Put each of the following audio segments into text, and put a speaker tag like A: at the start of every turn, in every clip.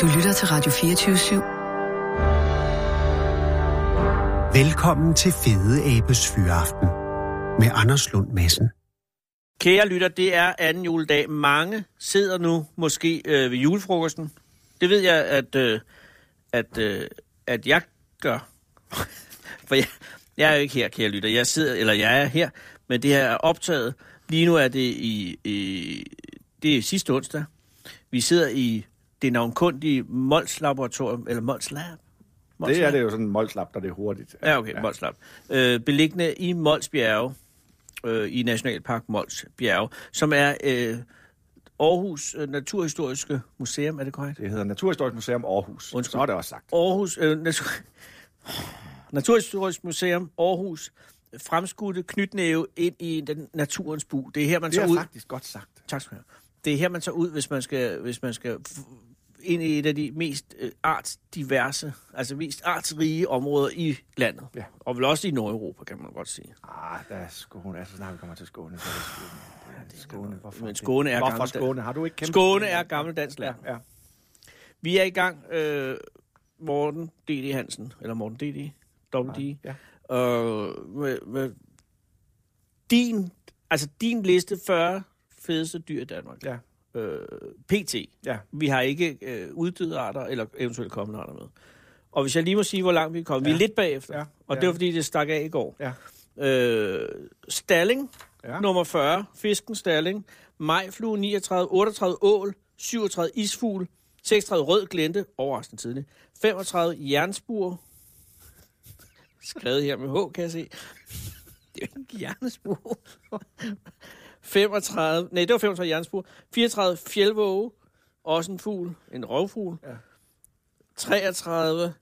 A: Du lytter til Radio 24 /7.
B: Velkommen til Fede Abes Fyraften med Anders Lund Madsen.
C: Kære lytter, det er anden juledag. Mange sidder nu måske øh, ved julefrokosten. Det ved jeg, at, øh, at, øh, at jeg gør. For jeg, jeg er jo ikke her, kære lytter. Jeg sidder, eller jeg er her, men det her er optaget. Lige nu er det i, i det er sidste onsdag. Vi sidder i det navnkundige Mols Laboratorium, eller Mols Lab. Mols
D: Det er
C: Lab.
D: det jo sådan en molslap, der det er hurtigt.
C: Ja, okay, ja. Mols Lab. Øh, beliggende i Mols Bjerge, øh, i Nationalpark Mols Bjerge, som er øh, Aarhus øh, Naturhistoriske Museum, er det korrekt?
D: Det hedder Naturhistorisk Museum Aarhus.
C: Undskyld.
D: Så er det også sagt.
C: Aarhus øh, Natur- Naturhistorisk Museum Aarhus fremskudte knytnæve ind i den naturens bu. Det er her, man
D: Det
C: tager
D: er
C: ud.
D: faktisk godt sagt.
C: Tak skal du have. Det er her, man tager ud, hvis man skal, hvis man skal f- ind i et af de mest øh, artsdiverse, altså mest artsrige områder i landet.
D: Ja.
C: Og vel også i Nordeuropa, kan man godt sige.
D: Ah, der er Skåne. Altså, snart vi kommer til Skåne. Så er det Skåne. Det er Skåne. Hvorfor,
C: Men Skåne er
D: Hvorfor
C: gammel-
D: Skåne? Har du ikke kæmpet?
C: Skåne er gammel dansk land.
D: Ja.
C: Vi er i gang, øh, Morten D.D. Hansen, eller Morten D.D., Double D.
D: ja.
C: Øh, med, med din, altså din liste 40 fedeste dyr i Danmark.
D: Ja.
C: Øh, PT.
D: Ja.
C: Vi har ikke øh, uddøde arter, eller eventuelt kommende arter med. Og hvis jeg lige må sige, hvor langt vi er kommet. Ja. Vi er lidt bagefter,
D: Ja,
C: og
D: ja.
C: det var fordi, det stak af i går.
D: Ja.
C: Øh, Stalling, ja.
D: Ja.
C: nummer 40. Fisken Stalling. Majflue 39, 38 ål, 37 isfugl, 36 rød glente, overraskende tidligt. 35 jernspur. Skrevet her med H, kan jeg se. Det er jo ikke jernspur. 35, nej, det var 35 jernspur. 34 fjeldvåge, også en fugl, en rovfugl. Ja.
D: Ja.
C: 33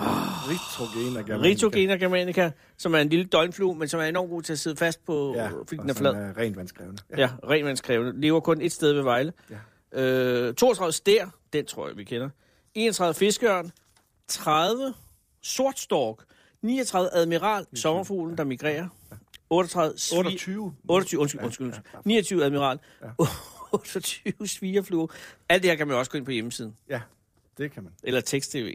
D: Ritogener. germanica.
C: Ritogener germanica, som er en lille døgnflue, men som er enormt god til at sidde fast på, ja, fordi den er
D: og
C: flad.
D: sådan, øh, rent vandskrevne. Ja.
C: Ja, renvandskrævende. Lever kun et sted ved Vejle. Ja. Øh, 32 stær, den tror jeg, vi kender. 31 fiskeørn. 30 sortstork. 39 admiral, sommerfuglen, der migrerer. 38 svi-
D: 28.
C: 28, undskyld, undskyld. undskyld. 29 admiral. 28 svigerflue. Alt det her kan man jo også gå ind på hjemmesiden.
D: Ja, det kan man.
C: Eller tekst-tv.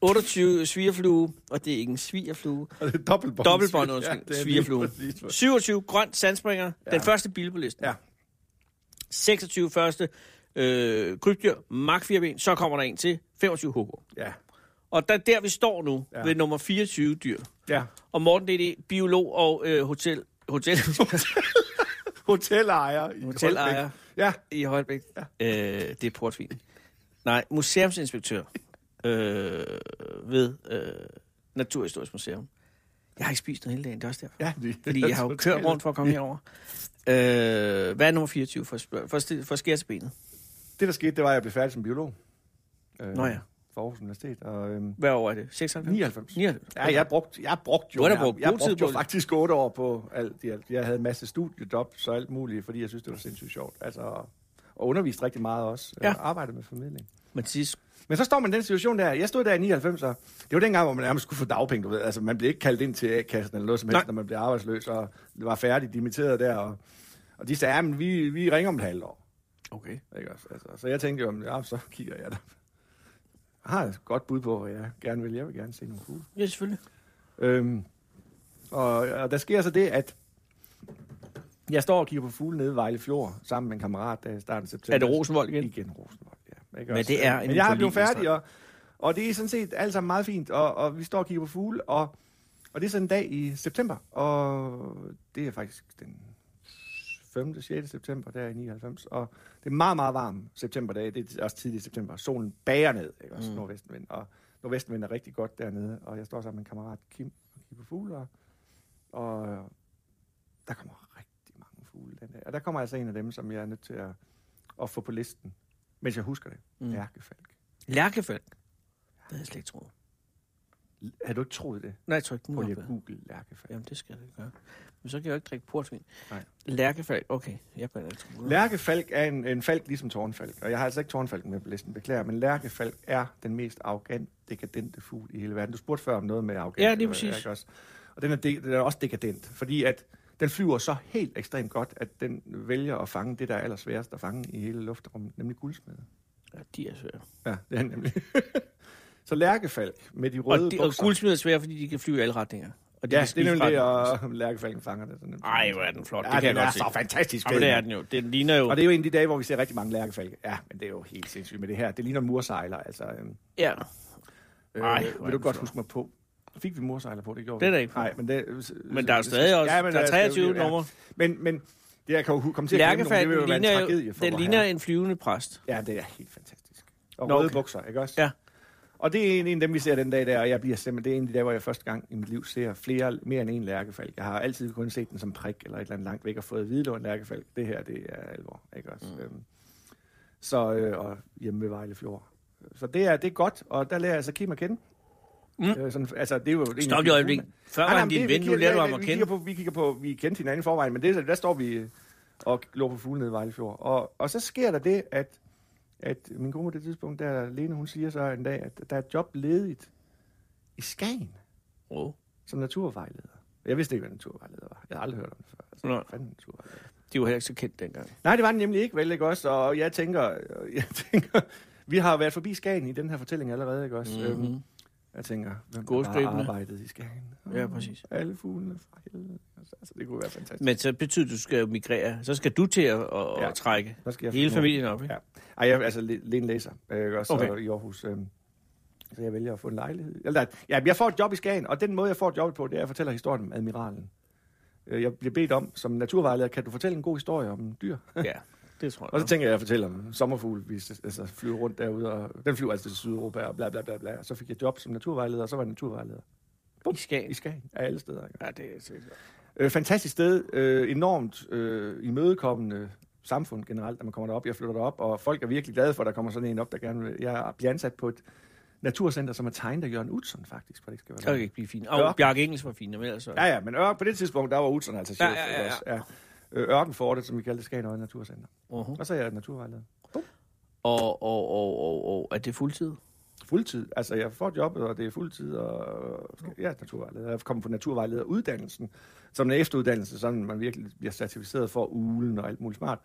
C: 28 svigerflue, og det er ikke en svigerflue.
D: Og det er dobbeltbånd.
C: Dobbeltbånd, undskyld.
D: det er lige
C: Svigerflue.
D: præcis, hvad-
C: 27 grønt sandspringer. Den første bil på listen.
D: Ja.
C: 26 første øh, krybdyr, mark 4 ben, så kommer der en til, 25 hugger.
D: Ja.
C: Og der, der vi står nu, ja.
D: Ja.
C: ved nummer 24 dyr.
D: Ja.
C: Og Morten D.D., biolog og øh, hotel, hotel
D: Hotelejer. i
C: Hotelejer.
D: Holbæk. Ja.
C: i Højbæk, ja. øh, det er portvin. Nej, museumsinspektør øh, ved øh, Naturhistorisk Museum. Jeg har ikke spist noget hele dagen, det er også derfor.
D: Ja, det-
C: Fordi jeg har jo kørt rundt for at komme herover. Øh, hvad er nummer 24 for, for, for, for skære til benet?
D: Det, der skete, det var, at jeg blev færdig som biolog. Øh,
C: Nå ja.
D: For Aarhus Universitet. Og, øhm,
C: Hvad år er det? 96?
D: 99.
C: 99.
D: Ja, jeg brugte, jeg brugte jo,
C: Du har da
D: jeg,
C: brugt
D: jeg
C: god tid
D: brugte
C: på
D: jo
C: det.
D: faktisk otte år på alt i alt. Jeg havde en masse studiejob, så alt muligt, fordi jeg synes, det var sindssygt sjovt. Altså, og underviste rigtig meget også.
C: Ja.
D: Ja. Arbejde med formidling.
C: Mathis,
D: Men så står man i den situation der. Jeg stod der i 99, og det var dengang, hvor man nærmest skulle få dagpenge, du ved. Altså, man blev ikke kaldt ind til A-kassen eller noget som helst,
C: Nej.
D: Nej. når man blev arbejdsløs, og var færdig dimitteret der. Og, og de sagde, ja, men vi, vi ringer om et halvt år.
C: Okay.
D: Ikke også? Altså, så jeg tænkte jo, jamen, ja, så kigger jeg der. Jeg har et godt bud på, hvad jeg gerne vil. Jeg vil gerne se nogle fugle.
C: Ja, selvfølgelig.
D: Øhm, og, og der sker så det, at jeg står og kigger på fugle nede i Vejle Fjord sammen med en kammerat der i starten af september.
C: Er det Rosenvold igen?
D: Igen Rosenvold, ja. Ikke
C: Men
D: også? Øh,
C: det er en
D: Men jeg har blevet
C: upålidelig
D: færdig, og, og det er sådan set alt sammen meget fint, og, og vi står og kigger på fugle, og, og det er sådan en dag i september, og det er faktisk den 5. 6. september, der i 99, og det er meget, meget varm septemberdag, det er også tidlig september, solen bager ned, ikke også, mm. nordvestenvind, og nordvestenvind er rigtig godt dernede, og jeg står sammen med en kammerat, Kim, og kigger på fugle, og, og der kommer rigtig mange fugle den dag, og der kommer altså en af dem, som jeg er nødt til at, at få på listen, mens jeg husker det, mm. Lærkefalk.
C: Lærkefald. Det havde jeg slet ikke troet.
D: Har du ikke troet det?
C: Nej, jeg tror ikke, den
D: Prøv
C: var
D: lige at
C: bedre.
D: google Lærkefalk.
C: Jamen, det skal jeg da gøre. Men så kan jeg jo ikke drikke portvin.
D: Nej.
C: Lærkefald. Okay, jeg går ind og tror.
D: Lærkefalk er en, en falk ligesom tårnfalk, og jeg har altså ikke tårnfalken med på listen, beklager, men lærkefalk er den mest arrogant, dekadente fugl i hele verden. Du spurgte før om noget med arrogant.
C: Ja, lige
D: eller-
C: præcis.
D: ikke Også. Og den er, de, den er også dekadent, fordi at den flyver så helt ekstremt godt, at den vælger at fange det, der er allersværest at fange i hele luftrummet, nemlig guldsmede.
C: Ja, de er svære.
D: Ja, det er han nemlig. så Lærkefalk med de
C: Og,
D: røde
C: de, og
D: bukser.
C: guldsmed er svære, fordi de kan flyve i alle retninger. Og de kan
D: ja, det
C: spise
D: er nemlig det,
C: bare-
D: og Lærkefalken fanger det. så nemt.
C: Ej, hvor er den flot.
D: Ja,
C: det kan jeg
D: den er
C: godt
D: så
C: se.
D: fantastisk.
C: Jamen, det
D: skæg.
C: er den jo. Den ligner jo...
D: Og det er jo en af de dage, hvor vi ser rigtig mange lærkefalke. Ja, men det er jo helt sindssygt med det her. Det ligner mursejler, altså. Øhm,
C: Ja. Ej,
D: Ej,
C: hvor er
D: vil du
C: det flot.
D: godt huske mig på? Fik vi mursejler på? Det gjorde
C: Det er
D: vi.
C: der ikke på.
D: Nej, men, det, s-
C: Men
D: s-
C: der er jo
D: s-
C: stadig også...
D: men altså,
C: der er 23
D: ja.
C: numre.
D: Men, men det, jeg kan jo hu- komme til at glemme nogen, det vil jo
C: Lærkefalken ligner
D: være en tragedie
C: jo...
D: for
C: Den
D: vor
C: ligner
D: herre.
C: en flyvende præst.
D: Ja, det er helt fantastisk. Og
C: Nå,
D: Nå, røde
C: okay.
D: bukser, ikke også?
C: Ja.
D: Og det er en, en af dem, vi ser den dag der, og jeg bliver simpelthen, det er en af de dage, hvor jeg første gang i mit liv ser flere, mere end en lærkefalk. Jeg har altid kun set den som prik, eller et eller andet langt væk, og fået at vide, det var en lærkefalk. Det her, det er alvor, ikke også? Mm. Øhm, så, øh, og hjemme ved Vejle Fjord. Så det er, det er godt, og der lærer jeg så Kim at kende.
C: Mm.
D: Øh, sådan, altså, det er jo
C: Stop lige øjeblik. Før var han din ven, nu lærer du ham at
D: Ah, vi kigger,
C: kende.
D: på, vi kigger på, vi kendte hinanden i forvejen, men det, er- der står vi øh, og lå på fugle nede i Vejlefjord. Og, og så sker der det, at, at min kone på det tidspunkt, der Lene, hun siger så en dag, at der er et job ledigt i Skagen
C: Åh.
D: som naturvejleder. Jeg vidste ikke, hvad en naturvejleder var. Jeg har aldrig hørt om det før. Altså,
C: Nå.
D: hvad fanden er en naturvejleder?
C: De var heller ikke så kendt dengang.
D: Nej, det var den nemlig ikke, vel, ikke også? Og jeg tænker, jeg tænker, vi har jo været forbi Skagen i den her fortælling allerede, ikke også?
C: Mhm.
D: Mm-hmm. Øhm, jeg tænker, hvem der
C: Gåsdribende.
D: har arbejdet i Skagen?
C: Ja, præcis.
D: Alle fuglene fra helvede. Altså, det kunne være fantastisk.
C: Men så betyder det, at du skal jo migrere. Så skal du til at, at,
D: Ja.
C: at trække
D: Så skal jeg
C: hele
D: finde-
C: familien op, ikke?
D: Ja. Ej, jeg, altså, Le- Lene læser øh, også
C: Okay.
D: okay. i Aarhus. Øh, så jeg vælger at få en lejlighed. Eller, nej, ja, jeg får et job i Skagen, og den måde, jeg får et job på, det er, at jeg fortæller historien om admiralen. Øh, Jeg bliver bedt om, som naturvejleder, kan du fortælle en god historie om dyr?
C: Ja, det tror
D: Og så
C: jeg.
D: tænker jeg, at jeg fortæller om sommerfugle, vi s- altså, flyver rundt derude, og den flyver altid til Sydeuropa, og bla bla bla bla. Så fik jeg job som naturvejleder, og så var jeg naturvejleder.
C: nok. I
D: I
C: Skagen.
D: Skagen, af alle steder. Ikke?
C: Ja, det er sikkert.
D: Øh, fantastisk sted, øh, enormt øh, imødekommende samfund generelt, når man kommer derop. Jeg flytter derop, og folk er virkelig glade for, at der kommer sådan en op, der gerne vil. Jeg bliver ansat på et naturcenter, som er tegnet af Jørgen Utzon, faktisk. For det skal
C: Så kan
D: være.
C: ikke blive fint. Og
D: Ja.
C: Bjarke Engels var fin, men ellers så...
D: Ja, ja, men ør, på det tidspunkt, der var Utzon altså
C: Ja,
D: chef.
C: ja, ja,
D: ikke
C: ja.
D: også? ja. Øh, Ørkenfortet, som vi kaldte Skagen Øje Naturcenter.
C: Uh-huh.
D: Og så er jeg naturvejleder.
C: Og, og, og, og, og er det fuldtid?
D: Fuldtid. Altså, jeg får jobbet, og det er fuldtid, og ja, naturvejleder. Jeg kommer på naturvejlederuddannelsen, som en efteruddannelse, sådan man virkelig bliver certificeret for ulen og alt muligt smart.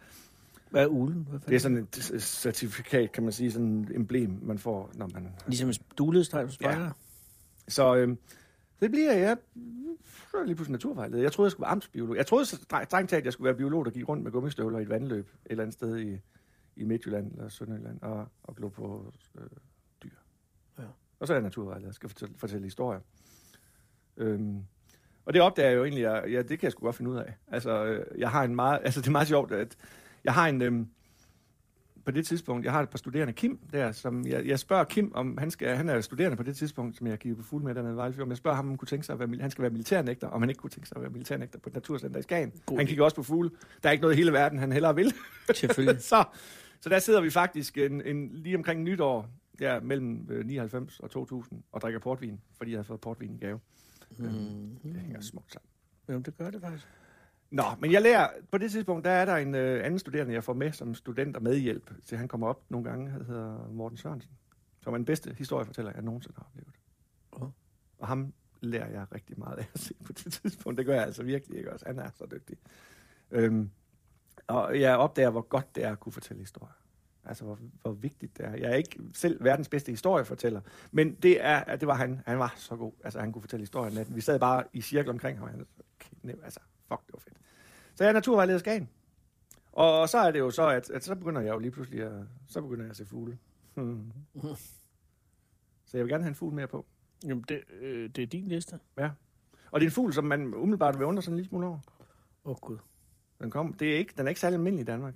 C: Hvad er ulen? Hvad
D: Det
C: fanden?
D: er sådan et c- certifikat, kan man sige, sådan et emblem, man får, når man...
C: Ligesom en duledsteg på spejder? Ja.
D: Så øhm, det bliver jeg så er jeg lige pludselig naturvejleder. Jeg troede, jeg skulle være amtsbiolog. Jeg troede så stre- strengt talt, jeg skulle være biolog, der gik rundt med gummistøvler i et vandløb et eller andet sted i, i Midtjylland eller Sønderjylland og, og glo på øh, dyr.
C: Ja.
D: Ja. Og så er jeg naturvejleder, jeg skal fortælle, fortælle historier. Øhm, og det opdager jeg jo egentlig, jeg, ja, det kan jeg sgu godt finde ud af. Altså, øh, jeg har en meget, altså det er meget sjovt, at jeg har en, øhm, på det tidspunkt, jeg har et par studerende, Kim, der, som jeg, jeg spørger Kim, om han skal, han er studerende på det tidspunkt, som jeg giver på fuld med dernede i Vejlefjord, men jeg spørger ham, om han kunne tænke sig at være, mil- han skal være militærnægter, om han ikke kunne tænke sig at være militærnægter på et naturcenter i Skagen.
C: God
D: han
C: idé.
D: kigger også på fugle. Der er ikke noget i hele verden, han hellere vil.
C: Selvfølgelig.
D: så, så der sidder vi faktisk en, en, lige omkring nytår, der mellem øh, 99 og 2000, og drikker portvin, fordi jeg har fået portvin i gave.
C: Mm-hmm.
D: Mm. Det hænger smukt sammen.
C: Jamen, det gør det faktisk.
D: Nå, men jeg lærer, på det tidspunkt, der er der en øh, anden studerende, jeg får med som student og medhjælp, til han kommer op nogle gange, han hedder Morten Sørensen, som er den bedste historiefortæller, jeg nogensinde har oplevet.
C: Åh.
D: Og ham lærer jeg rigtig meget af at se på det tidspunkt. Det gør jeg altså virkelig ikke også. Han er så dygtig. Øhm, og jeg opdager, hvor godt det er at kunne fortælle historier. Altså, hvor, hvor vigtigt det er. Jeg er ikke selv verdens bedste historiefortæller, men det er, at det var han. Han var så god. Altså, han kunne fortælle historien natten. Vi sad bare i cirkel omkring ham. og Han, okay, nej, altså, fuck, det var fedt. Så jeg er naturvejleder i Skagen. Og så er det jo så, at, at så begynder jeg jo lige pludselig at, så begynder jeg at se fugle. Hmm. Så jeg vil gerne have en fugl mere på.
C: Jamen, det, øh, det er din liste.
D: Ja. Og det er en fugl, som man umiddelbart vil undre sig en lille smule over.
C: Åh, oh, Gud.
D: Den, kom, det er ikke, den er ikke særlig almindelig i Danmark.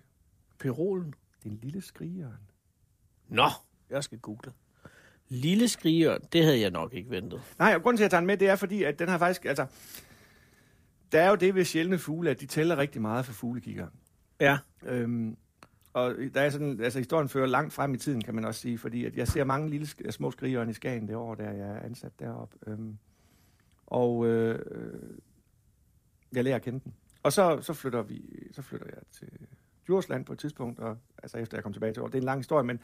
C: Pirolen.
D: Det er en lille skrigeren.
C: Nå, jeg skal google. Lille skriger, det havde jeg nok ikke ventet.
D: Nej, og grunden til, at jeg tager den med, det er fordi, at den har faktisk, altså... Der er jo det ved sjældne fugle, at de tæller rigtig meget for fuglekikkeren.
C: Ja,
D: Øhm, og der er sådan, altså historien fører langt frem i tiden, kan man også sige, fordi at jeg ser mange lille sk- små skrigeren i Skagen det år, der jeg er ansat deroppe. Øhm, og øh, øh, jeg lærer at kende den. Og så, så, flytter vi, så flytter jeg til Djursland på et tidspunkt, og, altså efter jeg kom tilbage til år. Det er en lang historie, men,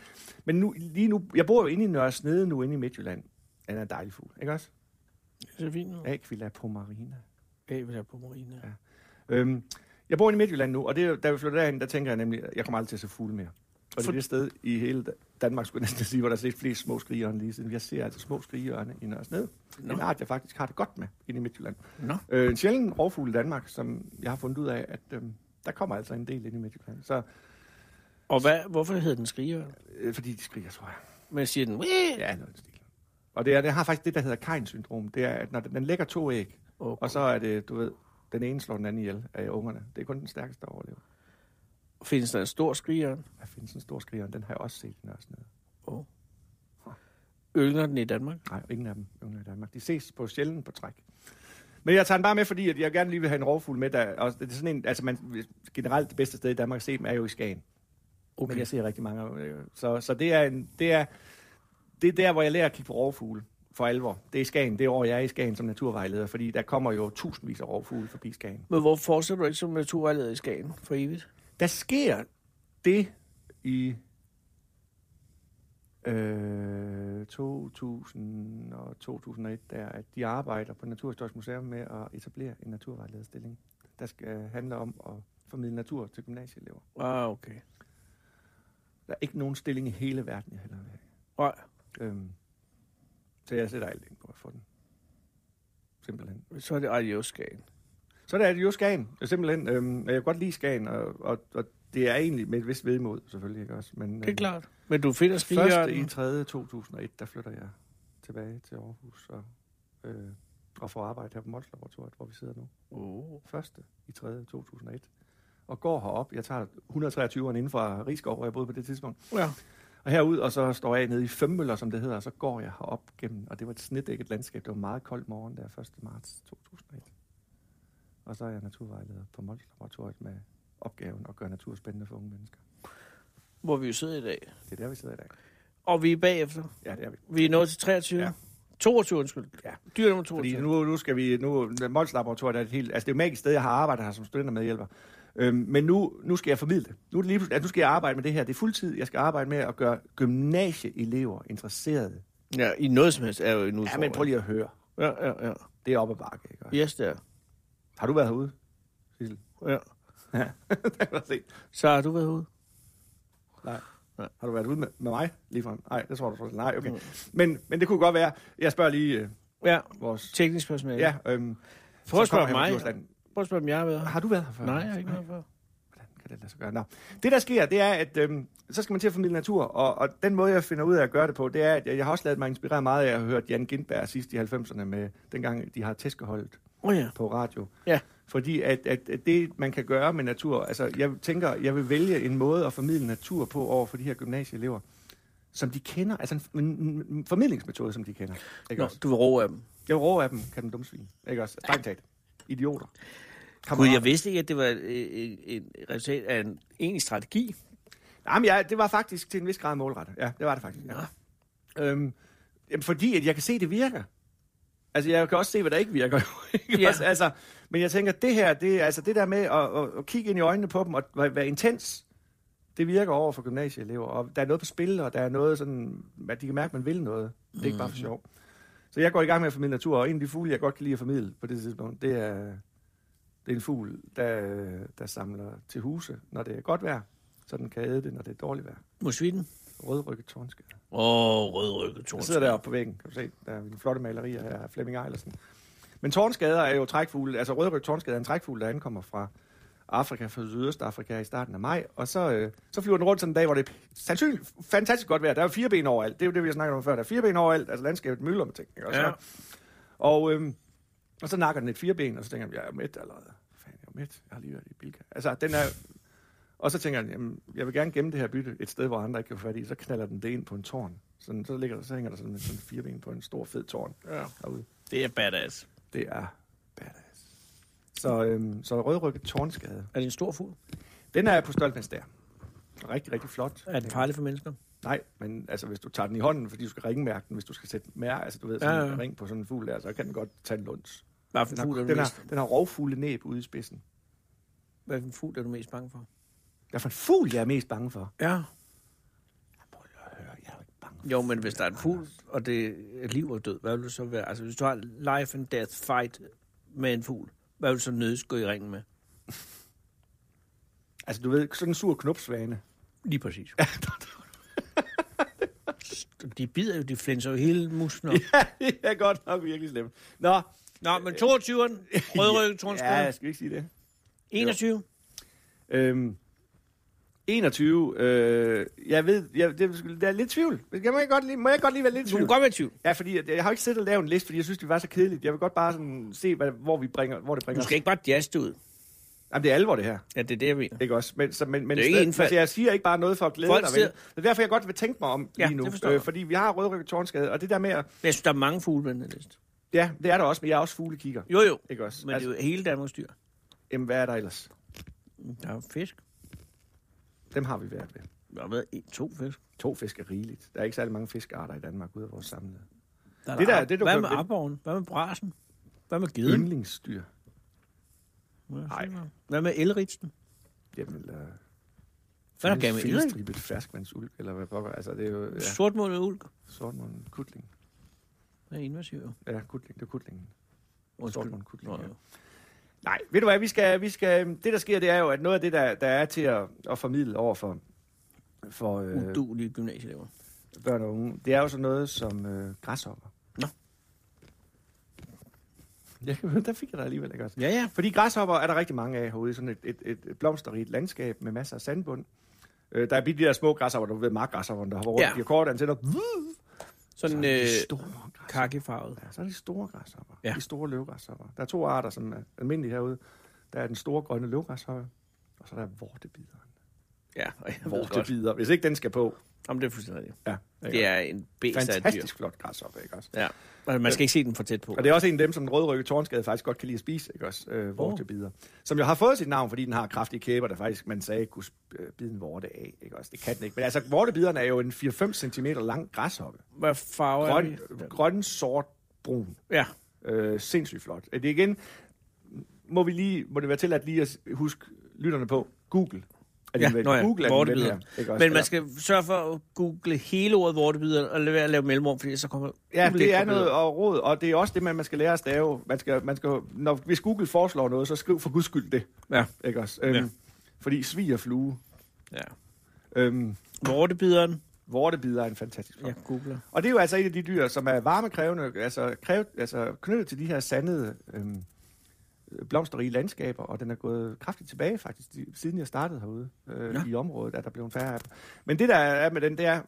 D: men nu, lige nu, jeg bor jo inde i Nørre Snede nu, inde i Midtjylland. Den er en dejlig fugl, ikke også?
C: det er fint nu.
D: Aquila pomarina.
C: Jeg vil have på Marina. Ja.
D: Ja. Øhm, jeg bor inde i Midtjylland nu, og det, er jo- da vi flyttede derhen, der tænker jeg nemlig, at jeg kommer aldrig til at se fugle mere. Og det er det sted i hele Danmark, skulle jeg næsten sige, hvor der er set flest små skrigerne lige siden. Jeg ser altså små skrigerne i Nørresned.
C: Nå.
D: Nå. En art, jeg faktisk har det godt med inde i Midtjylland.
C: Nå.
D: Øh, en sjælden rovfugl i Danmark, som jeg har fundet ud af, at øh, der kommer altså en del ind i Midtjylland. Så,
C: Og hvad, hvorfor hedder den skriger?
D: øh, fordi de skriger, tror jeg.
C: Men siger den, "Wee!"
D: Ja, noget i den stil. Og det, er, det har faktisk det, der hedder Kain-syndrom. Det er, at når den, den lægger to æg,
C: Okay.
D: og så er det, du ved, den ene slår den anden ihjel af ungerne. Det er kun den stærkeste, der overlever.
C: findes der en stor skriger?
D: Der findes en stor skriger, og den har jeg også set i Nørresnede.
C: Oh. Ølner den i Danmark?
D: Nej, ingen af dem yngler i Danmark. De ses på sjældent på træk. Men jeg tager den bare med, fordi at jeg gerne lige vil have en rovfugl med. Der, og det er sådan en, altså man, generelt det bedste sted i Danmark at se dem er jo i Skagen. Okay. Men jeg ser rigtig mange. øh, Så, så det, er en, det, er, det er der, hvor jeg lærer at kigge på rovfugle for alvor. Det er i Skagen. Det er år, jeg er i Skagen som naturvejleder, fordi der kommer jo tusindvis af rovfugle forbi Skagen.
C: Men hvorfor fortsætter du ikke som naturvejleder i Skagen for evigt?
D: Der sker det i øh, 2000 og 2001, der, at de arbejder på Naturhistorisk Museum med at etablere en naturvejlederstilling, der skal handle om at formidle natur til gymnasieelever.
C: Ah, okay.
D: Der er ikke nogen stilling i hele verden, jeg heller vil have.
C: Nej,
D: Øhm, så jeg sætter alt ind på at få den. Simpelthen.
C: så er det adios Skagen.
D: Så der er det jo Skagen. Det er Simpelthen. Øhm, jeg kan godt lide Skagen, og, og, og det er egentlig med et vist vedmod, selvfølgelig. Ikke også? Men, øhm,
C: Det er klart. Men du finder
D: Først i
C: skrigeren?
D: 3. 2001, der flytter jeg tilbage til Aarhus og, øh, og får arbejde her på Mols Laboratoriet, hvor vi sidder nu.
C: Oh.
D: Første i 3. 2001. Og går herop. Jeg tager 123'eren inden fra Rigskov, hvor jeg boede på det tidspunkt.
C: Ja.
D: Og herud, og så står jeg nede i Femmøller, som det hedder, og så går jeg herop gennem. Og det var et snedækket landskab. Det var en meget kold morgen der 1. marts 2001. Og så er jeg naturvejleder på Mols Laboratoriet med opgaven at gøre natur spændende for unge mennesker.
C: Hvor vi jo sidder i dag.
D: Det er der, vi sidder i dag.
C: Og vi er bagefter.
D: Ja, det er vi.
C: Vi er nået til 23. Ja.
D: Ja.
C: 22, undskyld.
D: Ja.
C: Dyr nummer 22.
D: Fordi nu, nu skal vi... Nu, Mols Laboratoriet er et helt... Altså, det er jo et magisk sted, jeg har arbejdet her som studentermedhjælper. Øhm, men nu, nu skal jeg formidle det. Nu, er det lige, pludselig- altså, nu skal jeg arbejde med det her. Det er fuldtid. Jeg skal arbejde med at gøre gymnasieelever interesserede.
C: Ja, i noget som helst er jo en
D: Ja,
C: udfordring.
D: men prøv lige at høre.
C: Ja, ja, ja.
D: Det er op ad bakke, ikke? Ja.
C: Yes, det er.
D: Har du været herude, Sissel?
C: Ja.
D: Ja, det har jeg set.
C: Så har du været ude?
D: Nej. Har du været ude med, med mig ligefrem? Nej, det tror du faktisk. Nej, okay. Men, men det kunne godt være... Jeg spørger lige øh,
C: Ja,
D: vores...
C: teknisk personale.
D: Ja, øhm,
C: Prøv at
D: så
C: spørge
D: kommer jeg fra
C: mig.
D: Djursland.
C: Prøv at spørge, om jeg har været her.
D: Har du været her før?
C: Nej, jeg har ikke været før.
D: Hvordan kan det lade sig gøre? Nå. Det, der sker, det er, at øhm, så skal man til at formidle natur, og, og den måde, jeg finder ud af at gøre det på, det er, at jeg, jeg har også lavet mig inspirere meget af at have hørt Jan Gindberg sidst i 90'erne med, dengang de har tæskeholdet
C: Åh oh, ja.
D: på radio.
C: Ja.
D: Fordi at, at, at det, man kan gøre med natur, altså jeg tænker, jeg vil vælge en måde at formidle natur på over for de her gymnasieelever, som de kender, altså en, en, en formidlingsmetode, som de kender. Ikke
C: Nå,
D: også?
C: du vil råbe af dem.
D: Jeg vil råbe af dem, kan dem dumsvin. Ikke også? Strengt talt. Idioter.
C: Gud, jeg vidste ikke, at det var øh, en, en resultat af en egentlig strategi.
D: Jamen, ja, det var faktisk til en vis grad målrettet. Ja, det var det faktisk. Ja. Øhm, jamen, fordi at jeg kan se, det virker. Altså, jeg kan også se, hvad der ikke virker. jo, ikke
C: Ja.
D: også? altså, men jeg tænker, det her, det, altså, det der med at, at, at kigge ind i øjnene på dem og være, være intens, det virker over for gymnasieelever. Og der er noget på spil, og der er noget sådan, at de kan mærke, at man vil noget. Det er ikke bare for sjov. Så jeg går i gang med at formidle natur, og en af de fugle, jeg godt kan lide at formidle på det tidspunkt, det er, det er en fugl, der, der samler til huse, når det er godt vejr, så den kan æde det, når det er dårligt vejr.
C: Musvitten.
D: Rødrykket tårnskade.
C: Åh, oh, rødrykket
D: Jeg
C: torsk.
D: sidder deroppe på væggen, kan du se. Der er mine flotte malerier her af Flemming Eilersen. Men tårnskader er jo trækfugle, altså rødrykket tårnskade er en trækfugle, der ankommer fra Afrika, fra Sydøstafrika i starten af maj, og så, øh, så flyver den rundt sådan en dag, hvor det er sandsynligt fantastisk godt vejr. Der er jo fire ben overalt, det er jo det, vi har snakket om før. Der er fire ben overalt, altså landskabet mylder med ting. Ikke? Og, så,
C: Ja.
D: ja. og, øh, og så nakker den et fireben, og så tænker jeg, jeg er mæt allerede. Hvad Fanden, jeg er mæt. Jeg har lige været i Bilka. Altså, den er... Og så tænker jeg, jamen, jeg vil gerne gemme det her bytte et sted, hvor andre ikke kan få fat i. Så knaller den det ind på en tårn. Sådan, så, ligger der, så hænger der sådan, sådan fire ben på en stor, fed tårn
C: Ja.
D: derude.
C: Det er badass.
D: Det er badass. Så, øhm, så rødrykket tårnskade.
C: Er det en stor fugl?
D: Den er på stoltens der. Rigtig, rigtig flot.
C: Er den farlig for mennesker?
D: Nej, men altså, hvis du tager den i hånden, fordi du skal ringmærke den, hvis du skal sætte mær, altså du ved, sådan
C: Ja,
D: ja,
C: ja.
D: ja. en ring på sådan en fugl der, så kan den godt tage en lunds.
C: Hvad for
D: Den
C: en fugl er
D: har,
C: du
D: den har,
C: mest,
D: den har rovfugle næb ude i spidsen.
C: hvad for en fugl er du mest bange for?
D: Hvad for en fugl, jeg er mest bange for?
C: Ja.
D: Prøv lige at høre, Øh, jeg er jo ikke bange for.
C: Jo, men hvis der er en fugl, og det er liv og død, hvad vil du så være? Altså, hvis du har life and death fight med en fugl, hvad vil du så nødes gå i ringen med?
D: Altså, du ved, sådan en sur knopsvane.
C: Lige præcis. de bider jo, de flænser jo hele musen op.
D: det er godt nok virkelig slemt. Nå,
C: Nå, men 22'eren, rødrykket
D: ja,
C: tornskole,
D: jeg skal vi ikke sige det.
C: 21.
D: Øhm, 21. Øh, jeg ved, jeg, det, er sgu- det er lidt tvivl. Jeg må, jeg godt lige, må jeg godt lige være lidt i
C: Du
D: tvivl?
C: kan godt være i tvivl.
D: Ja, fordi jeg, jeg har jo ikke siddet og lavet en liste, fordi jeg synes, det var så kedeligt. Jeg vil godt bare sådan se, hvad, hvor, vi bringer, hvor det bringer
C: Du skal ikke bare jazze det ud.
D: os. Jamen, det er alvor, det her.
C: Ja, det er det, jeg mener.
D: Ikke også? Men, så, men, men
C: Det er ikke
D: stadig-
C: indfald.
D: altså, jeg siger ikke bare noget for at glæde
C: Folk
D: dig.
C: sidder-
D: Vel? Det er derfor, jeg godt vil tænke mig om
C: Ja,
D: lige nu. øh,
C: det forstår jeg.
D: fordi vi har rødrykket tårnskade, og det der med at...
C: Men jeg synes, der er mange fugle på den her liste.
D: Ja, det er der også, men jeg er også fuglekigger.
C: Jo, jo.
D: Ikke også? Altså,
C: Men det er jo hele Danmarks dyr.
D: Jamen, hvad er der ellers?
C: Der er fisk.
D: Dem har vi været ved.
C: Der har været en, to fisk.
D: To fisk er rigeligt. Der er ikke særlig mange fiskearter i Danmark ude af vores samlede.
C: Der er
D: Det der- det, du
C: Hvad
D: kan-
C: med abboren? Hvad med brasen? Hvad med geden?
D: Yndlingsdyr.
C: Nej.
D: Nej.
C: Hvad med elritsen?
D: Jamen, eller...
C: Hvad er der gav med elritsen?
D: Filstribet ferskvandsulk, eller hvad pokker. Altså, det er jo... Ja,
C: Sortmundet ulk.
D: sortmunden kutling.
C: Det er invasiv. jo.
D: Ja, kutling. Det er kutlingen.
C: Undskyld.
D: Sortmundet kutling,
C: Nå,
D: ja.
C: jo.
D: Nej, ved du hvad, vi skal, vi skal, det der sker, det er jo, at noget af det, der, der er til at, at formidle over for, for øh,
C: Udulige gymnasieelever.
D: børn og unge, det er jo sådan noget som øh, græshopper.
C: Nå.
D: Ja, men der fik jeg dig alligevel ikke også.
C: Ja, ja.
D: Fordi græshopper er der rigtig mange af herude, i sådan et, et, et blomsterrigt landskab med masser af sandbund. Øh, der er de der små græshopper, du ved, markgræshopperne, der har rundt,
C: Ja.
D: ja. de har korte antenner.
C: Sådan
D: Så er
C: øh,
D: de store græshopper.
C: kakkefarvet.
D: Ja, så er det de store græshopper.
C: Ja.
D: Ja. De store løvgræshopper. Der er to arter, som er almindelige herude. Der er den store grønne løvgræshopper, og så er der vortebideren.
C: Ja, og jeg ved godt.
D: Vortebider, hvis ikke den skal på.
C: Jamen, det er fuldstændig rigtigt.
D: Ja,
C: Det er en bæst af et dyr.
D: Fantastisk flot græshopper, ikke også?
C: Ja. Altså, man skal ikke se den for tæt på.
D: Og det er også en af dem, som den rødrygge tårnskade faktisk godt kan lide at spise, ikke også? Øh, vortebider. Som jo har fået sit navn, fordi den har kraftige kæber, der faktisk, man sagde, kunne sp- øh, bide en vorte af, ikke også? Det kan den ikke. Men altså, vortebiderne er jo en 4-5 cm lang græshoppe.
C: Hvad farve er
D: Grøn,
C: det?
D: grøn, sort, brun.
C: Ja.
D: Øh, sindssygt flot. Øh, Det er igen, må, vi lige, må det være til at lige at huske lytterne på, Google. Er din
C: Ja,
D: ven.
C: nå ja,
D: Google er din ven
C: vortebider.
D: her, ikke også?
C: Men man skal sørge for at google hele ordet vortebider og lade være at lave mellemrum, fordi så kommer
D: Ja,
C: ulækre
D: det er noget
C: billeder.
D: og råd, og det er også det, man, man skal lære at stave. Man skal, man skal, når, hvis Google foreslår noget, så skriv for guds skyld det.
C: Ja,
D: Ikke også? Øhm,
C: Ja.
D: ja. Fordi svigerflue,
C: ja.
D: øhm,
C: Vortebideren,
D: vortebider er en fantastisk flok.
C: jeg
D: Ja.
C: googler.
D: Og det er jo altså et af de dyr, som er varmekrævende, altså, kræv, altså knyttet til de her sandede øhm, blomsterrige landskaber, og den er gået kraftigt tilbage faktisk, de, siden jeg startede herude øh,
C: Nå.
D: i området, at der blev en færre af dem. Men det der er med den, det er,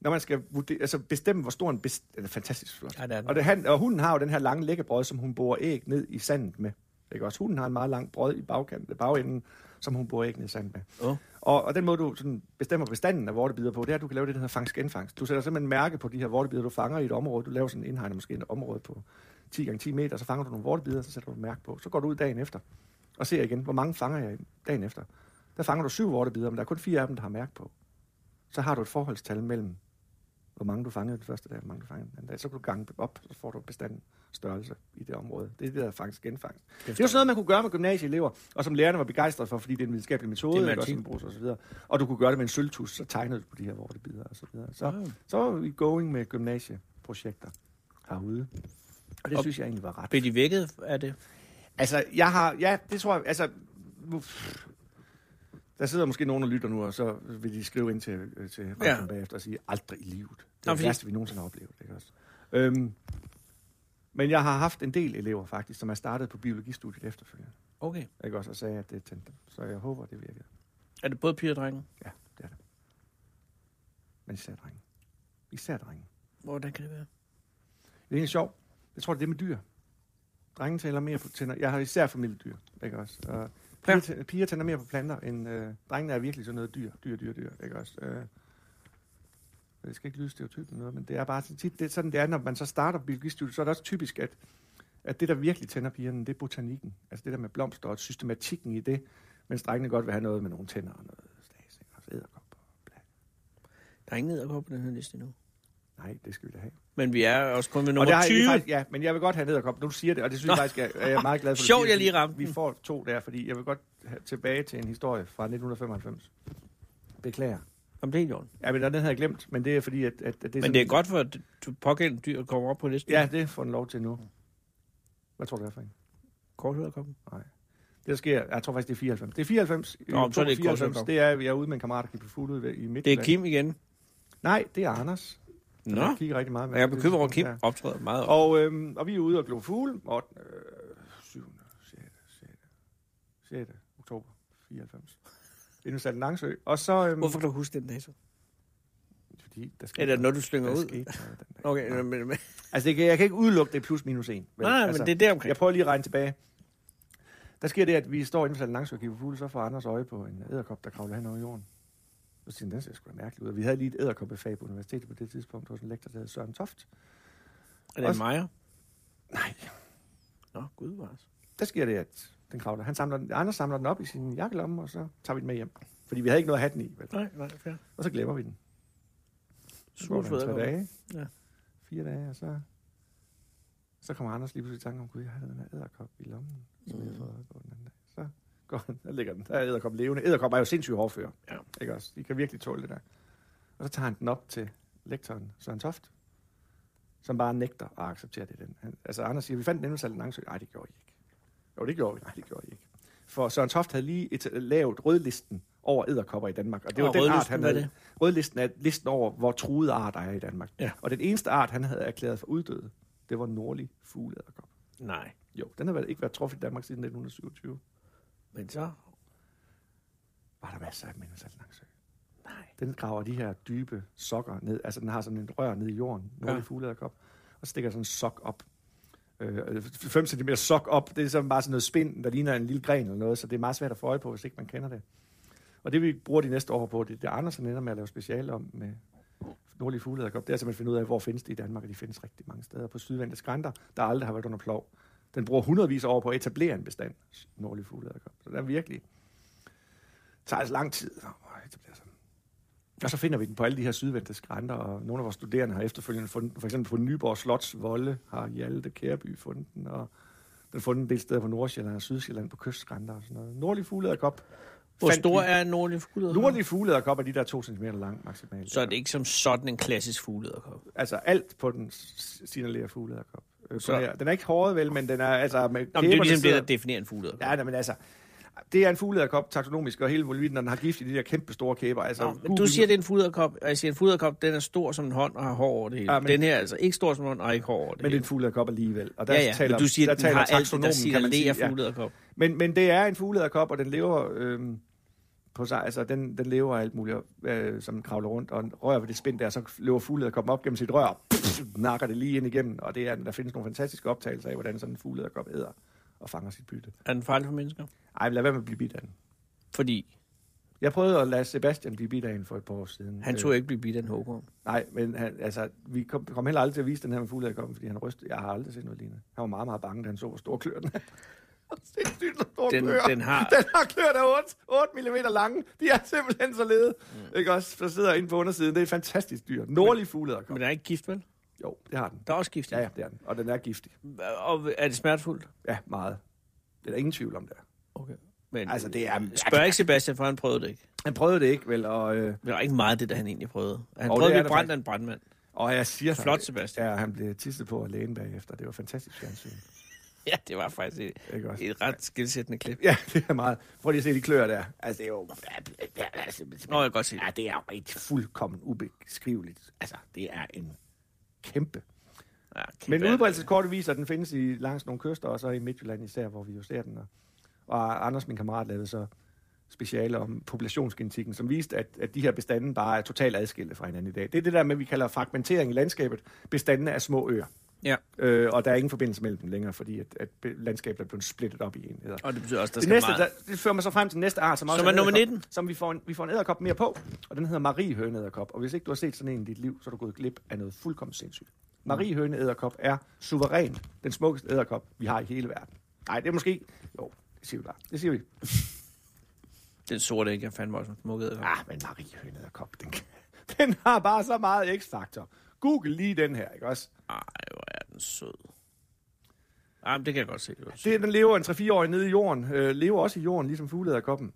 D: når man skal vurdere, altså bestemme, hvor stor en best... Den er fantastisk flot.
C: Ja, det er den.
D: Og, det, han, og hunden har jo den her lange læggebrød, som hun borer æg ned i sandet med. Ikke også? Hunden har en meget lang brød i bagkanten, bagenden, som hun borer æg ned i sandet med.
C: Åh.
D: Og, og den måde, du sådan bestemmer bestanden af vortebider på, det er, at du kan lave det, der hedder fangst-genfangst. Du sætter simpelthen mærke på de her vortebider, du fanger i et område. Du laver sådan en indhegnet måske et område på 10 gange 10 meter, så fanger du nogle vortebider, så sætter du et mærke på. Så går du ud dagen efter og ser igen, hvor mange fanger jeg dagen efter. Der fanger du syv vortebider, men der er kun fire af dem, der har mærke på. Så har du et forholdstal mellem, hvor mange du fangede den første dag, hvor mange du fangede den anden dag. Så kan du gange dem op, så får du bestanden størrelse i det område. Det er det, der er fangst genfangst. Det er jo sådan noget, man kunne gøre med gymnasieelever, og som lærerne var begejstrede for, fordi det er en videnskabelig metode,
C: Det er
D: ikke, og,
C: matematik.
D: som bruges og, så videre. og du kunne gøre det med en sølvtus, så tegnede du på de her vortebider og så videre. Så,
C: Ah.
D: så var vi going med gymnasieprojekter herude. Og det
C: Og-
D: synes jeg egentlig var ret
C: Bliver de vækket af det?
D: Altså, jeg har... Ja, det tror jeg... Altså... nu- Der sidder måske nogen og lytter nu, og så vil de skrive ind til, øh, til ja.
C: Ja.
D: bagefter og sige, aldrig i livet. Det er
C: Nå,
D: det
C: fordi-
D: værste, vi nogensinde har oplevet. Ikke også? Øhm, men jeg har haft en del elever faktisk, som er startet på biologistudiet efterfølgende.
C: Okay.
D: Ikke også? Og sagde, at det tændte dem. Så jeg håber, det virkede.
C: Er det både piger og drenge?
D: Ja, det er det. Men især drenge. Især drenge.
C: Hvordan kan det være?
D: Det er egentlig sjovt. Jeg tror, det er det med dyr. Drenge taler mere på tænder. Jeg har især familiedyr, ikke også? Og piger, ja. piger tænder mere på planter, end øh, drengene er virkelig sådan noget dyr, dyr, dyr, dyr, ikke også? Øh, det skal ikke lyde stereotypt eller noget, men det er bare sådan tit, det er sådan, det er, når man så starter biologistudiet, så er det også typisk, at, at det, der virkelig tænder pigerne, det er botanikken. Altså det der med blomster og systematikken i det, mens drengene godt vil have noget med nogle tænder og noget stads, ikke også? Edderkopper.
C: Der er ingen edderkop på den her liste endnu.
D: Nej, det skal vi da have.
C: Men vi er også kun ved
D: og det
C: nummer
D: har jeg
C: 20.
D: egentlig faktisk, ja, men jeg vil godt have nederkop. Nu siger det, og det synes jeg faktisk, jeg er jeg er meget glad for. du
C: Sjovt,
D: siger,
C: jeg lige
D: fordi
C: ramte
D: Vi
C: den.
D: får to der, fordi jeg vil godt have tilbage til en historie fra 1995. Beklager.
C: Jamen, det er ikke
D: Ja, men den havde jeg glemt, men det er fordi, at, at, at det er
C: Men det er godt for, at du pågældende dyr kommer op på listen.
D: Ja, det får den lov til nu. Hvad tror du, det er for en?
C: Korthøderkoppen.
D: Nej. Det sker, jeg tror faktisk, det er 94. Det er 94.
C: Nå, men så er det et godt stykke
D: 94.
C: op.
D: Det er, jeg er ude med en kammerat, der gik på fuld ud i midt.
C: Det er Kim igen.
D: Nej, det er Anders.
C: Nå,
D: Jeg kigger rigtig meget.
C: jeg er bekymret over, at Kim optræder meget op.
D: Og, øhm, og vi er ude og glo fugle 8. Øh, 7. 6. 6. 6. oktober 94. Inden sat Langsø. Og så... Øhm,
C: Hvorfor kan du huske den dato?
D: Fordi der skete
C: Er det noget, du slynger
D: der
C: ud?
D: skete noget den dag.
C: Okay,
D: Nej.
C: men, men, men,
D: Altså, det kan, jeg kan ikke udelukke det er plus minus en. vel?
C: nej,
D: altså,
C: men det er der
D: Okay.
C: omkring.
D: Jeg prøver lige at regne tilbage. Der sker det, at vi står inde på Langsø og kigger på fugle, så får Anders øje på en æderkop, der kravler hen over jorden. Så siger han, den ser sgu da mærkelig ud. Og Vi havde lige et æderkoppefag på universitetet på det tidspunkt hos en lektor, der hed Søren Toft.
C: Er det
D: Også-
C: Maja?
D: Nej,
C: Nå, gud vars.
D: der sker det, at den kravler. Han samler den, Anders samler den op i sin jakkelomme, og så tager vi den med hjem. Fordi vi havde ikke noget at have den i, vel?
C: Nej, nej, fair.
D: Og så glemmer vi den. Så går
C: Smut
D: der en tre dage,
C: Ja.
D: fire dage, og så, så kommer Anders lige pludselig i tanke om, gud, jeg havde den her æderkop i lommen, som jeg havde fået øje på den anden dag. Så går han, der ligger den, der er æderkop levende. Æderkop er jo sindssygt hårdfører,
C: Ja.
D: ikke også? De kan virkelig tåle det der. Og så tager han den op til lektoren Søren Toft, som bare nægter at acceptere det. Den. Han, altså Anders siger, vi fandt den nemlig langsøg. Nej, det gjorde I ikke. Jo, det gjorde vi. Nej, det gjorde I ikke. For Søren Toft havde lige et, lavet rødlisten over æderkopper i Danmark, og det var
C: Og
D: den art,
C: rødlisten,
D: han
C: hvad er
D: havde,
C: det?
D: Rødlisten er listen over, hvor truede arter er i Danmark.
C: Ja.
D: Og den eneste art, han havde erklæret for uddød, det var nordlig fugleæderkop.
C: Nej,
D: Jo, den har vel ikke været truffet i Danmark siden 1927.
C: men så...
D: Var der masser af mennesker langs
C: Nej.
D: Den graver de her dybe sokker ned. Altså, den har sådan en rør ned i jorden, nordlig
C: Ja.
D: ja. fugleæderkop, og stikker sådan en sok op. 5 cm sok op, det er sådan bare sådan noget spind, der ligner en lille gren eller noget, så det er meget svært at få øje på, hvis ikke man kender det. Og det vi bruger de næste år på, det er det Andersen ender med at lave speciale om med nordlige fugleæderkop, det er simpelthen at finde ud af, hvor findes de i Danmark, og de findes rigtig mange steder på sydvendte skrænter, der aldrig har været under plov. Den bruger hundredvis af år på at etablere en bestand, nordlige fugleæderkop. Så der er virkelig tager altså lang tid at etablere sådan. Og så finder vi den på alle de her sydvendte skrænter, og nogle af vores studerende har efterfølgende fundet den. For eksempel på Nyborg Slots Volde har Hjalte Kærby fundet den, og den er fundet en del steder på Nordsjælland og Sydsjælland på kystskrænter og sådan noget. Nordlig fugleæderkop.
C: Hvor
D: fandt
C: stor
D: vi-
C: er en nordlig fugleæderkop?
D: Nordlig fugleæderkop er de der to centimeter lang maksimalt.
C: Så er det ikke som sådan en klassisk fugleæderkop.
D: Altså alt på den s- signalerer fugleæderkop. Øh,
C: Så-
D: på det her. Den er ikke håret vel, men den er altså... Med
C: Nå, men det er jo
D: kæberne
C: ligesom det,
D: sidder-
C: der definerer en fugleæderkop.
D: Ja, nej, men altså... Det er en fugleæderkop, taksonomisk, og hele volvitten, og den har gift i de der kæmpe store kæber. Altså,
C: Nå, men du
D: Gud-
C: siger, det er en fuderkop, og jeg siger, en fuderkop, den er stor som en hånd og har hår over det hele. Ja,
D: Ja,
C: men...
D: men-
C: Den her er altså ikke stor som en hånd og ikke hår over det
D: Men det er
C: hele.
D: en fugleæderkop alligevel. Og der
C: ja, ja,
D: taler,
C: men du siger,
D: der
C: at den har alt det, der
D: taxonomen, kan man
C: signalerer
D: sige, ja.
C: fuglederkop.
D: Men, men det er en fugleæderkop, og den lever... Øhm, på sig, altså den, den lever af alt muligt, øh, som den kravler rundt, og den rører ved det spind der, så løber fugleæderkoppen op gennem sit rør, og nakker det lige ind igennem, og det er, der findes nogle fantastiske optagelser af, hvordan sådan en fugleæderkop æder og fanger sit bytte.
C: Er den farlig for mennesker?
D: Ej, men lad være med at blive bidt af den.
C: Fordi
D: Jeg prøvede at lade Sebastian blive bidt af en for et par år siden. Øh,
C: han tog ikke blive bidt af en huggorm.
D: Nej, men han, altså, vi kom, kom heller aldrig til at vise den her med fugleæderkoppen, fordi han rystede. Jeg har aldrig set noget lignende. Han var meget, meget bange, da han så, hvor stor klør den er. Sindssygt hvor stor
C: Den-
D: klør.
C: den har-
D: den har klør, der er 8, 8 mm lange. De er simpelthen så lede. Mm. Ikke også? Så sidder jeg inde på undersiden. Det er et fantastisk dyr. Nordlig
C: Men
D: fugleæderkop.
C: den er ikke gift, vel?
D: Jo, det har den.
C: Der er også gift. i
D: Ja, ja,
C: den.
D: det er den. Og den er giftig.
C: Og er det smertefuldt?
D: Ja, meget. Det er der ingen tvivl om det. er.
C: Okay. Men
D: Altså, det er...
C: spørg ikke Sebastian, for han prøvede det ikke.
D: Han prøvede det ikke, vel? Og, øh,
C: Men der er ikke meget af det, der han egentlig prøvede. Han
D: Og
C: prøvede
D: det
C: at
D: er
C: blive
D: der
C: brændt
D: faktisk.
C: af en brandmand.
D: og jeg siger dig,
C: Flot, Sebastian.
D: Ja, han blev tisset på af lægen bagefter. Det var fantastisk fjernsyn.
C: Ja, det var faktisk et,
D: Ikke også?
C: et ret skilsættende klip.
D: Ja, det er meget. Prøv lige at se de klør der. Altså, det er jo...
C: Nå, jeg kan godt se det.
D: Ja, det er jo et fuldkommen ubeskriveligt. Altså, det er en kæmpe.
C: Ah, Ja,
D: Men
C: kæmpe-
D: udbredelseskortet viser, at den findes i, langs nogle kyster, og så i Midtjylland især, hvor vi jo ser den. Og, og Anders, min kammerat, lavede så speciale om populationsgenetikken, som viste, at, at de her bestande bare er totalt adskilte fra hinanden i dag. Det er det der med, vi kalder fragmentering i landskabet. Bestandene er små øer,
C: Ja,
D: øh, og der er ingen forbindelse mellem dem længere, fordi at, at landskabet er blevet splittet op i enheder.
C: og det betyder også, at der
D: Det,
C: skal
D: næste,
C: meget...
D: der, det fører mig så frem til næste art, som, også
C: Som er nummer
D: edderkop,
C: 19.
D: Som vi får, en, vi får en æderkop mere på, og den hedder Marie Høneæderkop. Og hvis ikke du har set sådan en i dit liv, så er du gået glip af noget fuldkommen sindssygt. Marie Høneæderkop er suveræn den smukkeste æderkop, vi har i hele verden. Nej, det er måske... Jo, det siger vi bare. Det siger vi.
C: Den sorte ikke, jeg fandme også smukket.
D: Ah, men Marie Høneæderkop, den, kan- den har bare så meget x-faktor. Google lige den her, ikke også?
C: Ej, hvor er den sød. Ej, men det kan jeg godt se. Det,
D: Det, den lever en 3-4 år nede i jorden, øh, lever også i jorden, ligesom fugleæderkoppen.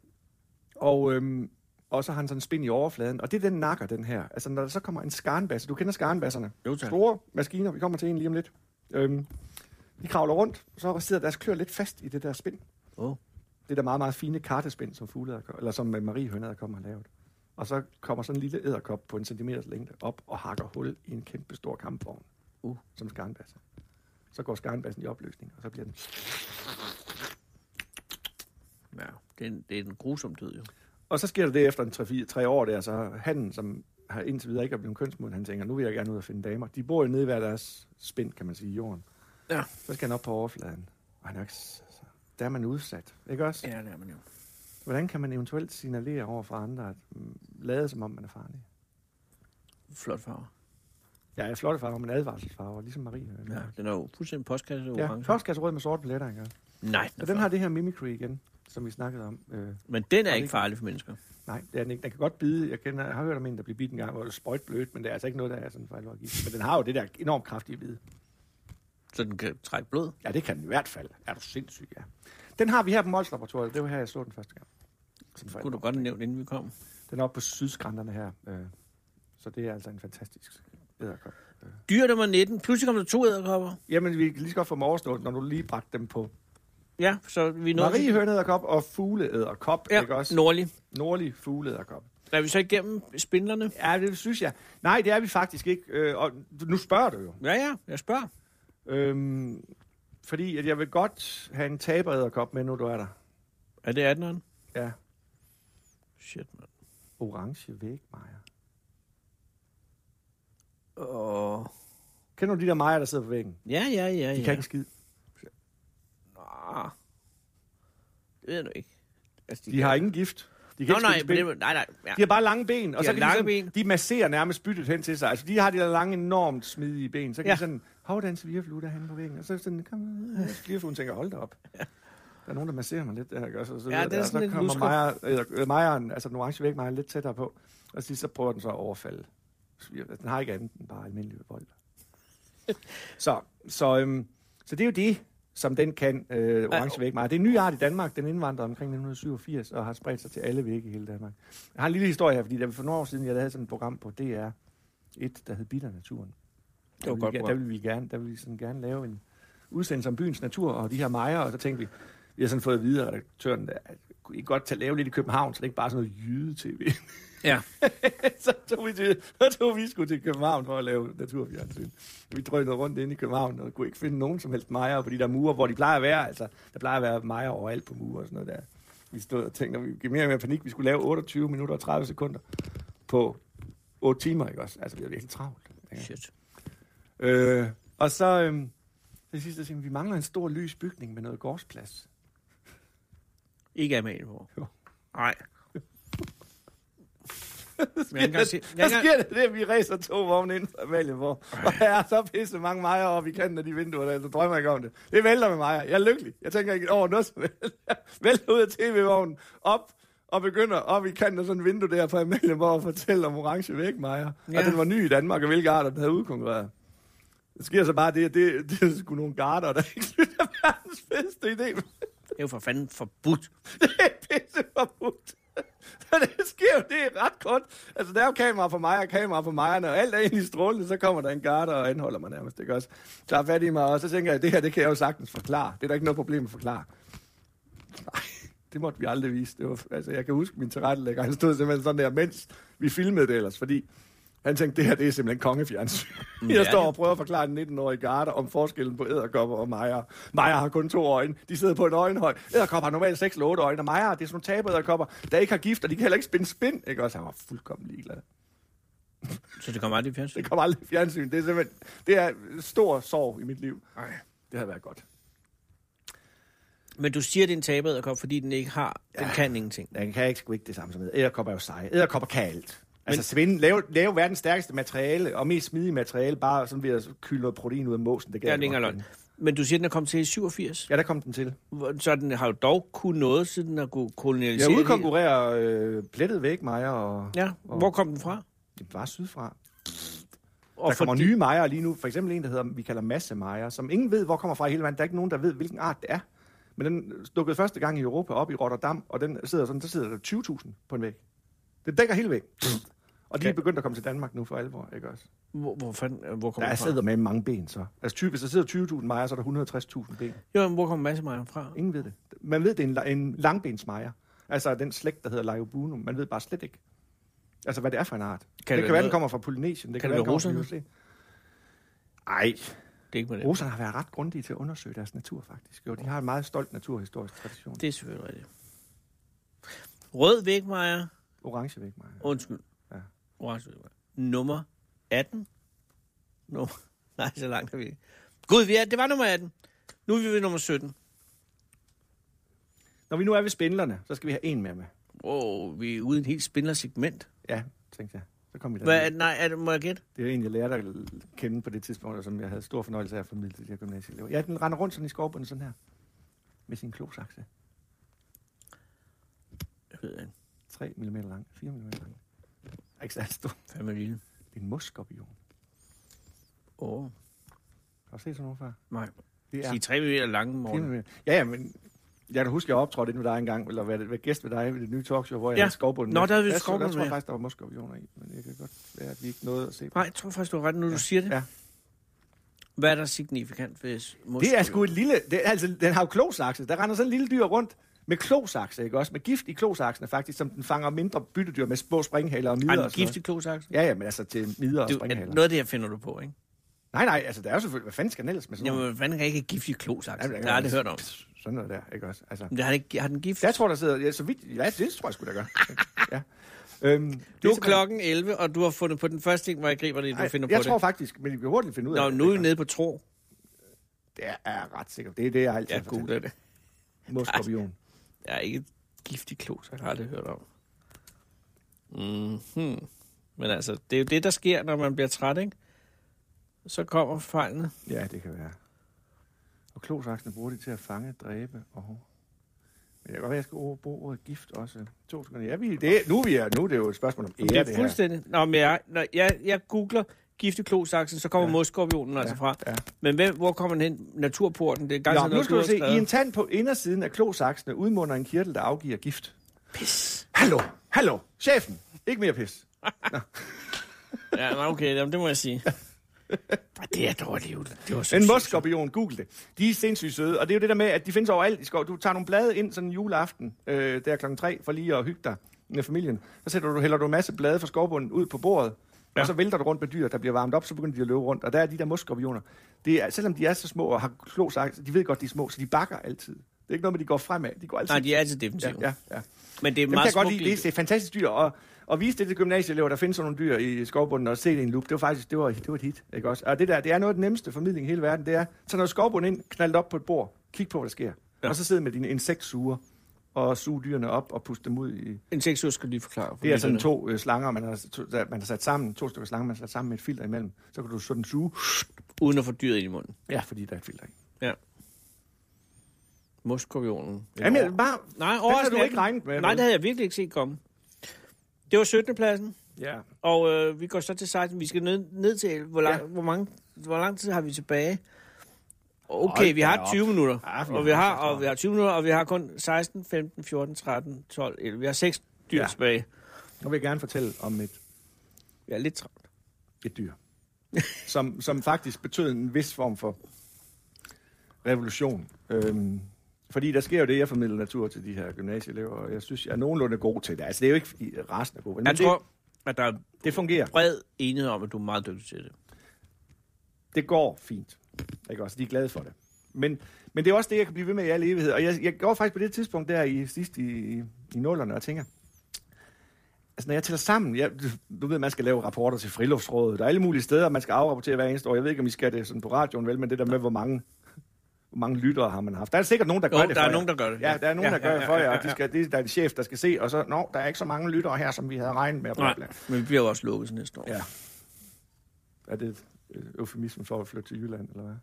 D: Og, øhm, og så har han sådan en spind i overfladen, og det er den nakker, den her. Altså, når der så kommer en skarnbasse, du kender skarnbasserne?
C: Jo, tak.
D: Store maskiner, vi kommer til en lige om lidt. Øhm, de kravler rundt, så sidder deres klør lidt fast i det der spind.
C: Åh.
D: det der meget, meget fine kartespind, som, fugle, eller som øh, Marie Hønne kommer har lavet. Og så kommer sådan en lille æderkop på en centimeters længde op og hakker hul i en kæmpe stor kampvogn, uh. som skarnbasse. Så går skarnbassen i opløsning, og så bliver den...
C: Ja, det er en, det er en grusom død, jo.
D: Og så sker der det efter en 3, 3 år der, så han, som har indtil videre ikke er blevet kønsmoden, han tænker, nu vil jeg gerne ud og finde damer. De bor jo nede i hver deres spind, kan man sige, i jorden.
C: Ja.
D: Så skal han op på overfladen. Og han er jo ikke... s- s- Der er man udsat, ikke også?
C: Ja, det er man jo.
D: Hvordan kan man eventuelt signalere over for andre, at mm, lade som om man er farlig?
C: Flot farve.
D: Jeg er flotte farver, men advarselsfarver, ligesom Marie.
C: Ja, den er jo fuldstændig postkasse
D: ja
C: orange.
D: postkasserød med sorte pletter, ikke?
C: Nej, den er
D: Og den
C: flot.
D: har det her mimicry igen, som vi snakkede om. Øh,
C: Men den er
D: det
C: ikke
D: ikke-
C: farlig for mennesker.
D: nej, det er den ikke. Den kan godt bide. Jeg, kender, jeg har hørt om en, der blev bidt en gang, hvor det sprøjt blødt, men det er altså ikke noget, der er sådan for alvor gift. Men den har jo det der enormt kraftige bid.
C: Så den kan trække blod.
D: Ja, det kan den i hvert fald. Er du sindssyg, ja. Den har vi her på Mols Laboratoriet. Det var her, jeg så den første gang. Sådan for
C: Det
D: alvor.
C: kunne du godt have nævnt, inden vi kom.
D: Den er oppe på sydskrænterne her. Øh, så det er altså en fantastisk æderkop.
C: Dyr nummer 19. Pludselig kom der to æderkopper.
D: Jamen, vi kan lige så godt få dem overstået, når du lige bragte dem på
C: Ja, så vi nåede...
D: Marie hønæderkop og fugleæderkop, ja, ikke også?
C: ja, nordlig.
D: Nordlig fugleæderkop.
C: Er vi så igennem spindlerne?
D: Ja, det synes jeg. Nej, det er vi faktisk ikke. Øh, og nu spørger du jo.
C: Ja, ja, jeg spørger.
D: Øhm, fordi at jeg vil godt have en taberæderkop med, nu du er der.
C: Er det 18'eren?
D: Ja.
C: Shit, mand.
D: Orange vægmejer.
C: Åh.
D: Kender du de der mejer, der sidder på væggen?
C: Ja, ja, ja,
D: De
C: ja.
D: kan ikke skide.
C: Nå. Det ved jeg nu ikke. Altså,
D: De har ingen gift. De kan
C: Nå,
D: ikke
C: nej,
D: spille
C: men
D: spil.
C: det, nej, nej. Ja.
D: De har bare lange ben, og
C: De
D: så
C: har
D: kan
C: lange
D: de, sådan,
C: ben.
D: de masserer nærmest byttet hen til sig. Altså, de har de der lange, enormt smidige ben. Så kan
C: Ja.
D: ja. de sådan, hov, der er en svigerflue derhenne på væggen. Og så sådan, kom, øh, svigerfluen tænker, hold da op. Der er nogen, der masserer mig lidt. Der, ikke også? Og så,
C: Ja,
D: videre
C: det er
D: der. Og
C: sådan
D: så
C: lidt
D: kommer
C: lusker.
D: Maja, eller, øh, Majeren, altså den orange væg, Maja lidt tættere på. Og så, så prøver den så at overfalde. sviger- Den har ikke andet end bare almindelig vold. så, så, øhm, så det er jo det, som den kan, øh, orange vægmar. Det er en ny art i Danmark. Den indvandrede omkring 1987 og har spredt sig til alle vægge i hele Danmark. Jeg har en lille historie her, fordi der for nogle år siden, jeg lavede sådan et program på DR1, der hed Biler Naturen.
C: Det var
D: Der
C: godt
D: ville vi- Der
C: program.
D: ville vi gerne, der ville vi sådan gerne lave en udsendelse om byens natur og de her mejer, og så tænkte vi, vi har sådan fået at vide af redaktøren, der, at kunne I godt tage, lave lidt i København, så det ikke bare er sådan noget jyde-tv.
C: ja.
D: så, tog vi til, så tog vi sgu til København for at lave naturfjernsyn. Vi drønede rundt inde i København og kunne ikke finde nogen som helst mejer på de der mure, hvor de plejer at være. Altså, der plejer at være mejer overalt på mure og sådan noget der. Vi stod og tænkte, at vi gik mere og mere panik. Vi skulle lave 28 minutter og 30 sekunder på 8 timer, ikke også? Altså, vi havde virkelig travlt.
C: Shit.
D: Øh, og så, øhm, det sidste, siger, vi, vi mangler en stor lys bygning med noget gårdsplads.
C: Ikke Amalienborg.
D: Jo.
C: Nej. Men jeg kan se,
D: Der
C: jeg kan,
D: sker det, det, at vi ræser to vogne ind fra Amalienborg. Og der er så pisse mange mejer oppe i kanten af de vinduer, der, så drømmer jeg ikke om det. Det vælter med mig. Jeg er lykkelig. Jeg tænker ikke over noget som helst. Jeg Vælter ud af tv-vognen, op og begynder op i kanten af sådan et vindue der på Amalienborg og fortælle om orange vægmejer. Ja.
C: Ja.
D: Og den var ny i Danmark, og hvilke arter den havde udkonkurreret. Der sker så bare det, at det, det er sgu nogle garter, der ikke synes, det er verdens bedste idé.
C: det er jo for fanden forbudt.
D: Det er pisse forbudt. Så det sker jo, det er ret kort. Altså, der er jo kamera for mig og kamera for mig, og når alt er ind i strålen, så kommer der en garder og anholder mig nærmest, ikke også? Tager fat i mig, og så tænker jeg, det her, det kan jeg jo sagtens forklare. Det er der ikke noget problem at forklare. Nej, det måtte vi aldrig vise. Det var, altså, jeg kan huske min tilrettelægger, han stod simpelthen sådan der, mens vi filmede det ellers, fordi han tænkte, det her, det er simpelthen kongefjernsyn.
C: Ja,
D: Jeg
C: det-
D: står og prøver at forklare en 19-årig garder om forskellen på æderkopper og mejer. Mejer har kun to øjne. De sidder på en øjenhøj. Æderkopper har normalt 6 eller 8 øjne, og mejer, det er sådan nogle taberæderkopper, der ikke har gift, og de kan heller ikke spinde spind. Ikke også? Han var fuldkommen ligeglad.
C: Så det kommer aldrig i fjernsyn.
D: Det kommer aldrig i fjernsyn. Det er simpelthen det er stor sorg i mit liv.
C: Nej.
D: Det havde været godt.
C: Men du siger, det er en taberæderkop, fordi den ikke har, den kan ingenting.
D: Den kan ikke sgu ikke det samme som æderkopper er jo seje. Æderkopper kan alt. Altså svinde, lave, lave verdens stærkeste materiale og mest smidige materiale, bare sådan ved at kylde noget protein ud af måsen. Det
C: Det
D: kan
C: er
D: jeg
C: den
D: godt
C: ikke engang
D: finde.
C: løgn. Men du siger, den er kommet til i 87.
D: Ja, der kom den til.
C: Hvor- Så den har jo dog kunnet noget, siden den har kunnet
D: Jeg
C: kolonialisere. det
D: udkonkurrerer øh, plettet væk, Maja, og
C: hele. Ja, hvor kom den fra?
D: det var sydfra.
C: Og
D: der kommer nye mejer lige nu. For eksempel en, der hedder, vi kalder masse mejer, som ingen ved, hvor kommer fra i hele verden. Der er ikke nogen, der ved, hvilken art det er. Men den dukkede første gang i Europa op i Rotterdam, og den sidder sådan, der sidder der 20.000 på en væg. Det dækker hele væg. Og de er
C: Mm. Okay.
D: begyndt at komme til Danmark nu for alvor, ikke også?
C: Hvor, hvor, fanden, hvor kom
D: Der
C: den fra?
D: sidder med mange ben, så. Altså typisk, der sidder 20.000 mejer, så er der 160.000 ben.
C: Jo, men hvor kom masse fra?
D: Ingen ved det. man ved, det er en, la- en langbensmejer. Altså den slægt, der hedder Leiobunum. Man ved bare slet ikke, altså hvad det er for en art. Kan det,
C: være
D: det kan være, den
C: noget-
D: kommer fra Polynesien. Det
C: kan
D: kan,
C: det
D: være, den
C: være
D: kommer fra New Zealand. Ej,
C: Det er ikke med det.
D: Russerne har været ret grundige til at undersøge deres natur, faktisk. Jo, de har en meget stolt naturhistorisk tradition.
C: Det er selvfølgelig rigtigt. Rød vægmejer.
D: Orange væk, Maja.
C: Undskyld.
D: Ja.
C: Orange vægmejer. Nummer 18. Nummer. Nej, så langt er vi ikke. Gud, vi er, det var nummer 18. Nu er vi ved nummer 17.
D: Når vi nu er ved spindlerne, så skal vi have en mere med.
C: Åh, vi er ude i et helt spindlersegment.
D: Ja, tænkte jeg. Så kom vi der.
C: Hvad, er- nej, er det, må jeg gætte?
D: Det er en, jeg lærte at kende på det tidspunkt, og som jeg havde stor fornøjelse af at formidle til de her gymnasieelever. Ja, den render rundt sådan i skovbunden sådan her. Med sin klosakse.
C: Jeg ved ikke.
D: 3 mm lang, 4 mm lang. Er Ikke særlig stor.
C: Fandme lille.
D: Det er en mosskorpion.
C: Åh, oh,
D: Har du set sådan nogen før?
C: nej.
D: Det
C: De er tre meter lange,
D: 4
C: Morten.
D: mm. Ja, ja, men jeg kan huske, jeg optrådte inden ved dig engang, eller hvad, hvad gæst ved dig ved det nye talkshow, hvor jeg
C: Ja.
D: havde skovbunden.
C: Nå,
D: med.
C: der havde vi
D: Jeg tror-
C: skovbunden
D: Jeg tror
C: med.
D: faktisk, der var mosskorpioner i, men det kan godt være, at vi ikke nåede at se.
C: Nej, jeg tror faktisk, du har ret, nu du siger det.
D: Ja.
C: Hvad er der signifikant ved mos?
D: Det er sgu et lille... Det, er- altså, den har jo klosakse. Der render sådan en lille dyr rundt med klosakse, ikke også? Med gift i klosaksene faktisk, som den fanger mindre byttedyr med små springhaler og midler
C: Ej,
D: og
C: men
D: sådan noget.
C: giftig klosaks.
D: Ja, ja, men altså til midler og
C: Det er
D: springhaler.
C: noget af det her finder du på, ikke?
D: Nej, nej, altså der er jo selvfølgelig... Hvad fanden skal den ellers med sådan
C: Jamen,
D: noget?
C: hvordan kan jeg ikke have giftig klosaks?
D: Jamen,
C: Det har jeg aldrig hørt om.
D: Sådan noget der, ikke også? Altså,
C: Men det har, den ikke, har den gift?
D: jeg tror, der sidder... Ja, så vidt, ja, det tror jeg sgu da gør. Ja. Øhm, det
C: Nu er
D: simpelthen-
C: klokken 11, og du har fundet på den første ting, hvor jeg griber det, du
D: Ej,
C: finder på
D: jeg tror
C: det.
D: faktisk, men vi kan hurtigt finde ud af
C: Nå,
D: det.
C: nu er vi
D: ikke?
C: nede på tro.
D: Det er jeg er ret sikkert. Det er det, jeg altid
C: Jeg
D: har fortalt.
C: googler det.
D: Moskovion.
C: Jeg er ikke et giftig klosaks, jeg har aldrig hørt om. Mm-hmm. Men altså, det er jo det, der sker, når man bliver træt, ikke? Så kommer fejlene.
D: Ja, det kan være. Og klosaksene bruger de til at fange, dræbe og... Men jeg kan godt være, jeg skal over- bruge ordet gift også. To sekunder. Ja, vi, det, nu, er vi er, nu er det jo et spørgsmål om ære,
C: Ja,
D: det,
C: det er
D: her.
C: fuldstændig. Nå, men jeg, når jeg, jeg googler giftig klosaksen, så kommer ja. modskorpionen altså fra.
D: ja.
C: Men hvem, hvor kommer den hen? Naturporten, det er gang
D: Nå, nu skal du se. I en tand på indersiden af klosaksene udmunder en kirtel, der afgiver gift. Pis. Hallo, hallo, chefen. Ikke mere pis.
C: Ja, nå, okay, jamen, det må jeg sige. Ej, det er dårligt. jo. Det var så
D: En
C: sygt.
D: mosskorpion, google det. De er sindssygt søde, og det er jo det der med, at de findes overalt i skov. Du tager nogle blade ind sådan en juleaften, øh, der klokken tre, for lige at hygge dig med familien. Så sætter du, hælder du en masse blade fra skovbunden ud på bordet, ja.
C: Ja.
D: og så vælter du rundt med dyr, der bliver varmet op, så begynder de at løbe rundt. Og der er de der mosskorpioner. Det er, selvom de er så små og har klosagt, de ved godt, de er små, så de bakker altid. Det er ikke noget med, de går fremad. De går altid.
C: Nej, de er altid
D: ja,
C: defensive.
D: ja, ja.
C: Men det er
D: Dem kan
C: meget
D: jeg godt
C: smukt.
D: lide. Det er-
C: lille.
D: det er fantastisk dyr. Og, og vise det til gymnasieelever, der findes sådan nogle dyr i skovbunden, og se det i en loop. Det var faktisk det var, det var et hit. Ikke også? Og det der, det er noget af den nemmeste formidling i hele verden. Det er, tag noget skovbund ind, knald det op på et bord, kig på, hvad der sker. Ja. Og så sidde med dine insektsuger og suge dyrene op og puste dem ud i...
C: En seksuel skal lige forklare. for
D: Det er sådan
C: lytterne.
D: to øh, slanger, man har, to, der- man har sat sammen, to stykker slanger, man har sat sammen med et filter imellem. Så kan du sådan suge,
C: Uden at få dyret ind i munden.
D: ja, fordi der er et filter i.
C: Ja. Moskorpionen.
D: Jamen, jeg, bare,
C: Nej,
D: den havde du
C: overraskende.
D: ikke regnet med.
C: Nej,
D: vel?
C: det havde jeg virkelig ikke set komme. Det var 17. pladsen,
D: Ja.
C: og øh, vi går så til 16. Vi skal ned, ned til 11. Hvor lang, ja.
D: Ja.
C: hvor, mange, hvor lang tid har vi tilbage?
D: Hold
C: Okay, vi
D: da
C: har
D: op.
C: 20 minutter.
D: Ja, vi
C: og,
D: har
C: vi har,
D: så travlt.
C: og vi har 20 minutter, og vi har kun 16, 15, 14, 13, 12, 11. Vi har 6 dyr
D: Ja.
C: ja. tilbage.
D: Nu vil jeg gerne fortælle om et
C: Vi er lidt travlt.
D: et dyr, som, som faktisk betød en vis form for revolution. Øhm, fordi der sker jo det, jeg formidler natur til de her gymnasieelever, og jeg synes, jeg er nogenlunde god til det. Altså, det er jo ikke fordi resten er god, men
C: Jeg
D: det,
C: tror, at der er
D: det fungerer.
C: bred enighed om, at du er meget dygtig til det.
D: Det går fint. Ikke også? De er glade for det. Men, men det er også det, jeg kan blive ved med i al evighed. Og jeg, jeg går faktisk på det tidspunkt der i sidst i, i, i nullerne og tænker, altså når jeg tæller sammen, jeg, du ved, man skal lave rapporter til friluftsrådet, der er alle mulige steder, man skal afrapportere hver eneste år. Jeg ved ikke, om I skal det sådan på radioen, vel, men det der med, hvor mange, hvor mange lyttere har man haft. Der er sikkert nogen, der gør
C: Jo,
D: det
C: der
D: for
C: er
D: jer.
C: nogen, der gør det.
D: Ja, der er nogen,
C: Ja,
D: der gør
C: ja,
D: det for
C: ja,
D: jer,
C: ja,
D: og de skal, det er en chef, der skal se, og så, nå, der er ikke så mange lyttere her, som vi havde regnet med. Bla, bla.
C: Nej, men vi bliver jo også lukket til næste år.
D: Ja. Er det et øh, eufemisme for at flytte til Jylland, eller hvad?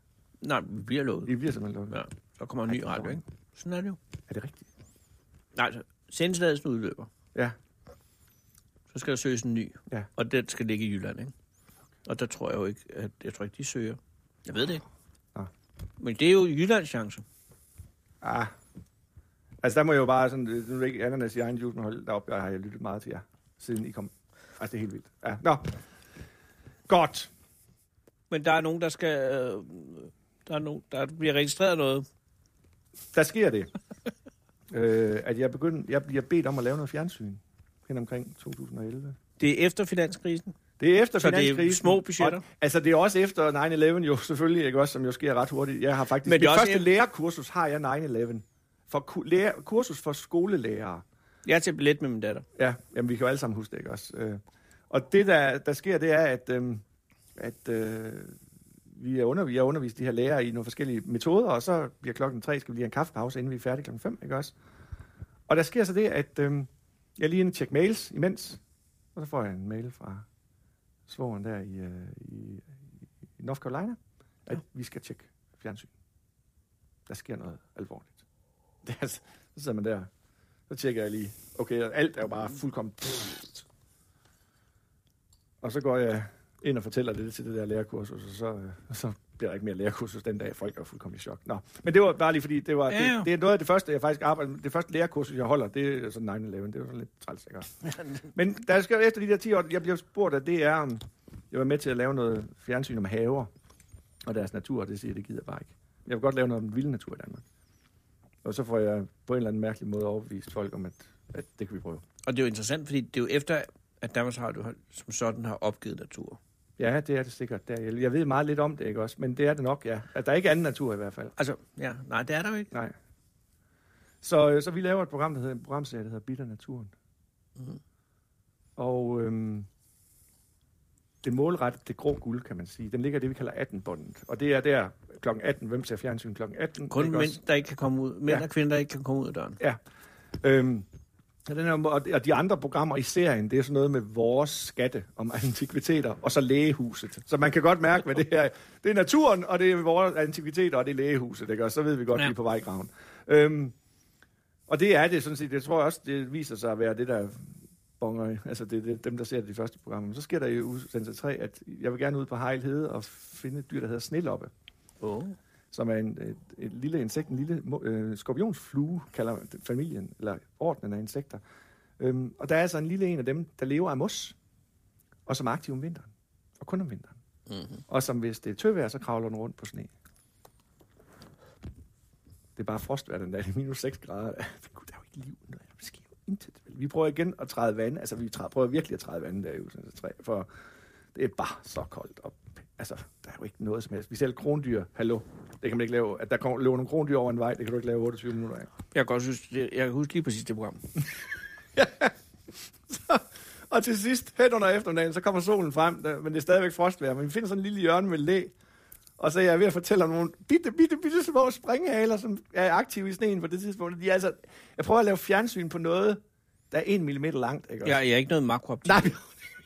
C: Nej, vi bliver lukket.
D: I bliver simpelthen lukket.
C: Ja. Så kommer en ny radio, ikke? Sådan er det jo.
D: Er det rigtigt?
C: Nej, så sendtilladelsen udløber.
D: Ja.
C: Så skal der søges en ny.
D: Ja.
C: Og den skal ligge i Jylland, ikke? Og der tror jeg jo ikke, at jeg tror ikke, de søger. Jeg ved det ikke.
D: Nå.
C: Men det er jo Jyllands chance.
D: Ah. Altså, der må jeg jo bare sådan... øh, Nu er det ikke ananas i egen juice, men hold da op, jeg har jeg lyttet meget til jer, siden I kom. Altså, det er helt vildt. Ja. Nå. Godt.
C: Men der er nogen, der skal... Øh, der, er nogen, der bliver registreret noget.
D: Der sker det. øh, at jeg begyndte, jeg bliver bedt om at lave noget fjernsyn hen omkring 2011.
C: Det er efter finanskrisen.
D: Det er efter
C: Så det er
D: finanskrisen.
C: små budgetter?
D: Og, altså, det er også efter 9-11 jo, selvfølgelig, ikke også, som jo sker ret hurtigt. Jeg har faktisk...
C: Men det
D: Men
C: er også
D: det første
C: efter-
D: lærerkursus har jeg 9-11. For ku- lærer, kursus for skolelærere.
C: Jeg er til billet med min datter.
D: Ja, jamen, vi kan jo alle sammen huske det, ikke også? Øh, Og det, der, der sker, det er, at, øhm, at øh, vi er undervist, jeg har undervist de her lærere i nogle forskellige metoder, og så bliver klokken tre, skal vi lige have en kaffepause, inden vi er færdige klokken fem, ikke også? Og der sker så det, at øhm, jeg lige er inde og tjekke mails imens, og så får jeg en mail fra svoren der i, øh, i, i North Carolina, at ja. vi skal tjekke fjernsyn. Der sker noget alvorligt. Det er, altså- så sidder man der, så tjekker jeg lige. Okay, og alt er jo bare fuldkommen... Og så går jeg ind og fortæller det til det der lærerkursus, og så, øh, og så bliver der ikke mere lærerkursus den dag. Folk er jo fuldkommen i chok. Nå, men det var bare lige fordi, det, var,
C: Ja, ja.
D: det, det er noget af det første, jeg faktisk arbejder med. Det første lærerkursus, jeg holder, det er sådan 9-11. Det er jo sådan lidt træls, ikke? Men der skal efter de der 10 år, jeg blev spurgt af DR, om jeg var med til at lave noget fjernsyn om haver og deres natur, og det siger jeg, det gider jeg bare ikke. Jeg vil godt lave noget om den vilde natur i Danmark. Og så får jeg på en eller anden mærkelig måde overbevist folk om, at, at det kan vi prøve.
C: Og det er jo interessant, fordi det er jo efter, at Danmarks Radio har- som sådan har opgivet natur.
D: Ja, det er det sikkert. Det er, jeg- jeg ved meget lidt om det, ikke også? Men det er det nok, ja. At der er ikke anden natur i hvert fald.
C: Altså, ja, nej, det er der jo ikke.
D: Nej. Så, øh, så vi laver et program, der hedder, en programserie, der hedder Bitter Naturen.
C: Mhm.
D: Og øhm, det målretter det grå guld, kan man sige. Den ligger i det, vi kalder 18-båndet. Og det er der klokken 18. Hvem ser fjernsyn klokken 18?
C: Kun
D: Ikke
C: mænd,
D: også?
C: der ikke kan komme ud. Mænd
D: Ja.
C: og kvinder, der ikke kan komme ud af døren.
D: Øhm, og den her, og og de andre programmer i serien, det er sådan noget med vores skatte om antikviteter, og så lægehuset. Så man kan godt mærke, hvad det her Det er naturen, og det er vores antikviteter, og det er lægehuset, ikke? Og så ved vi godt,
C: Ja.
D: ja. vi er på vej i graven. Øhm, og det er det sådan set. Jeg tror også, det viser sig at være det, der bonger, i- altså det, er det, dem, der ser det i de første programmer. Men så sker der i udsendelse 3, at jeg vil gerne ud på Hejlhede og finde et dyr, der hedder sneloppe
C: Oh.
D: som er en, et, et lille insekt, en lille mo- øh, skorpionsflue, kalder man det- familien, eller ordnen af insekter. Øhm, og der er altså en lille en af dem, der lever af mos, og som er aktiv om vinteren, og kun om vinteren. Mm-hmm. Og som hvis det er tøvejr, så kravler den rundt på sne. Det er bare frostvejr den dag, det er minus 6 grader. Gud, der er jo ikke liv, der er- der sker jo intet. vel? Vi prøver igen at træde vand, altså vi træder, prøver virkelig at træde vand der i udsendelse 3, for det er bare så koldt. Og, altså, der er jo ikke noget som helst. Vi selv krondyr, hallo, det kan man ikke lave. At der kommer, løber nogle krondyr over en vej, det kan du ikke lave 28 minutter af.
C: Jeg kan godt synes, det, jeg kan huske lige præcis det program.
D: Og til sidst, hen under eftermiddagen, så kommer solen frem, der, men det er stadigvæk frostvejr. Men vi finder sådan en lille hjørne med læ, og så er jeg ved at fortælle om nogle bitte, bitte, bitte små springhaler, som er aktive i sneen på det tidspunkt. De er altså, jeg prøver at lave fjernsyn på noget, der er en millimeter langt, ikke? også?
C: Jeg, jeg er ikke noget makrooptik.
D: Nej,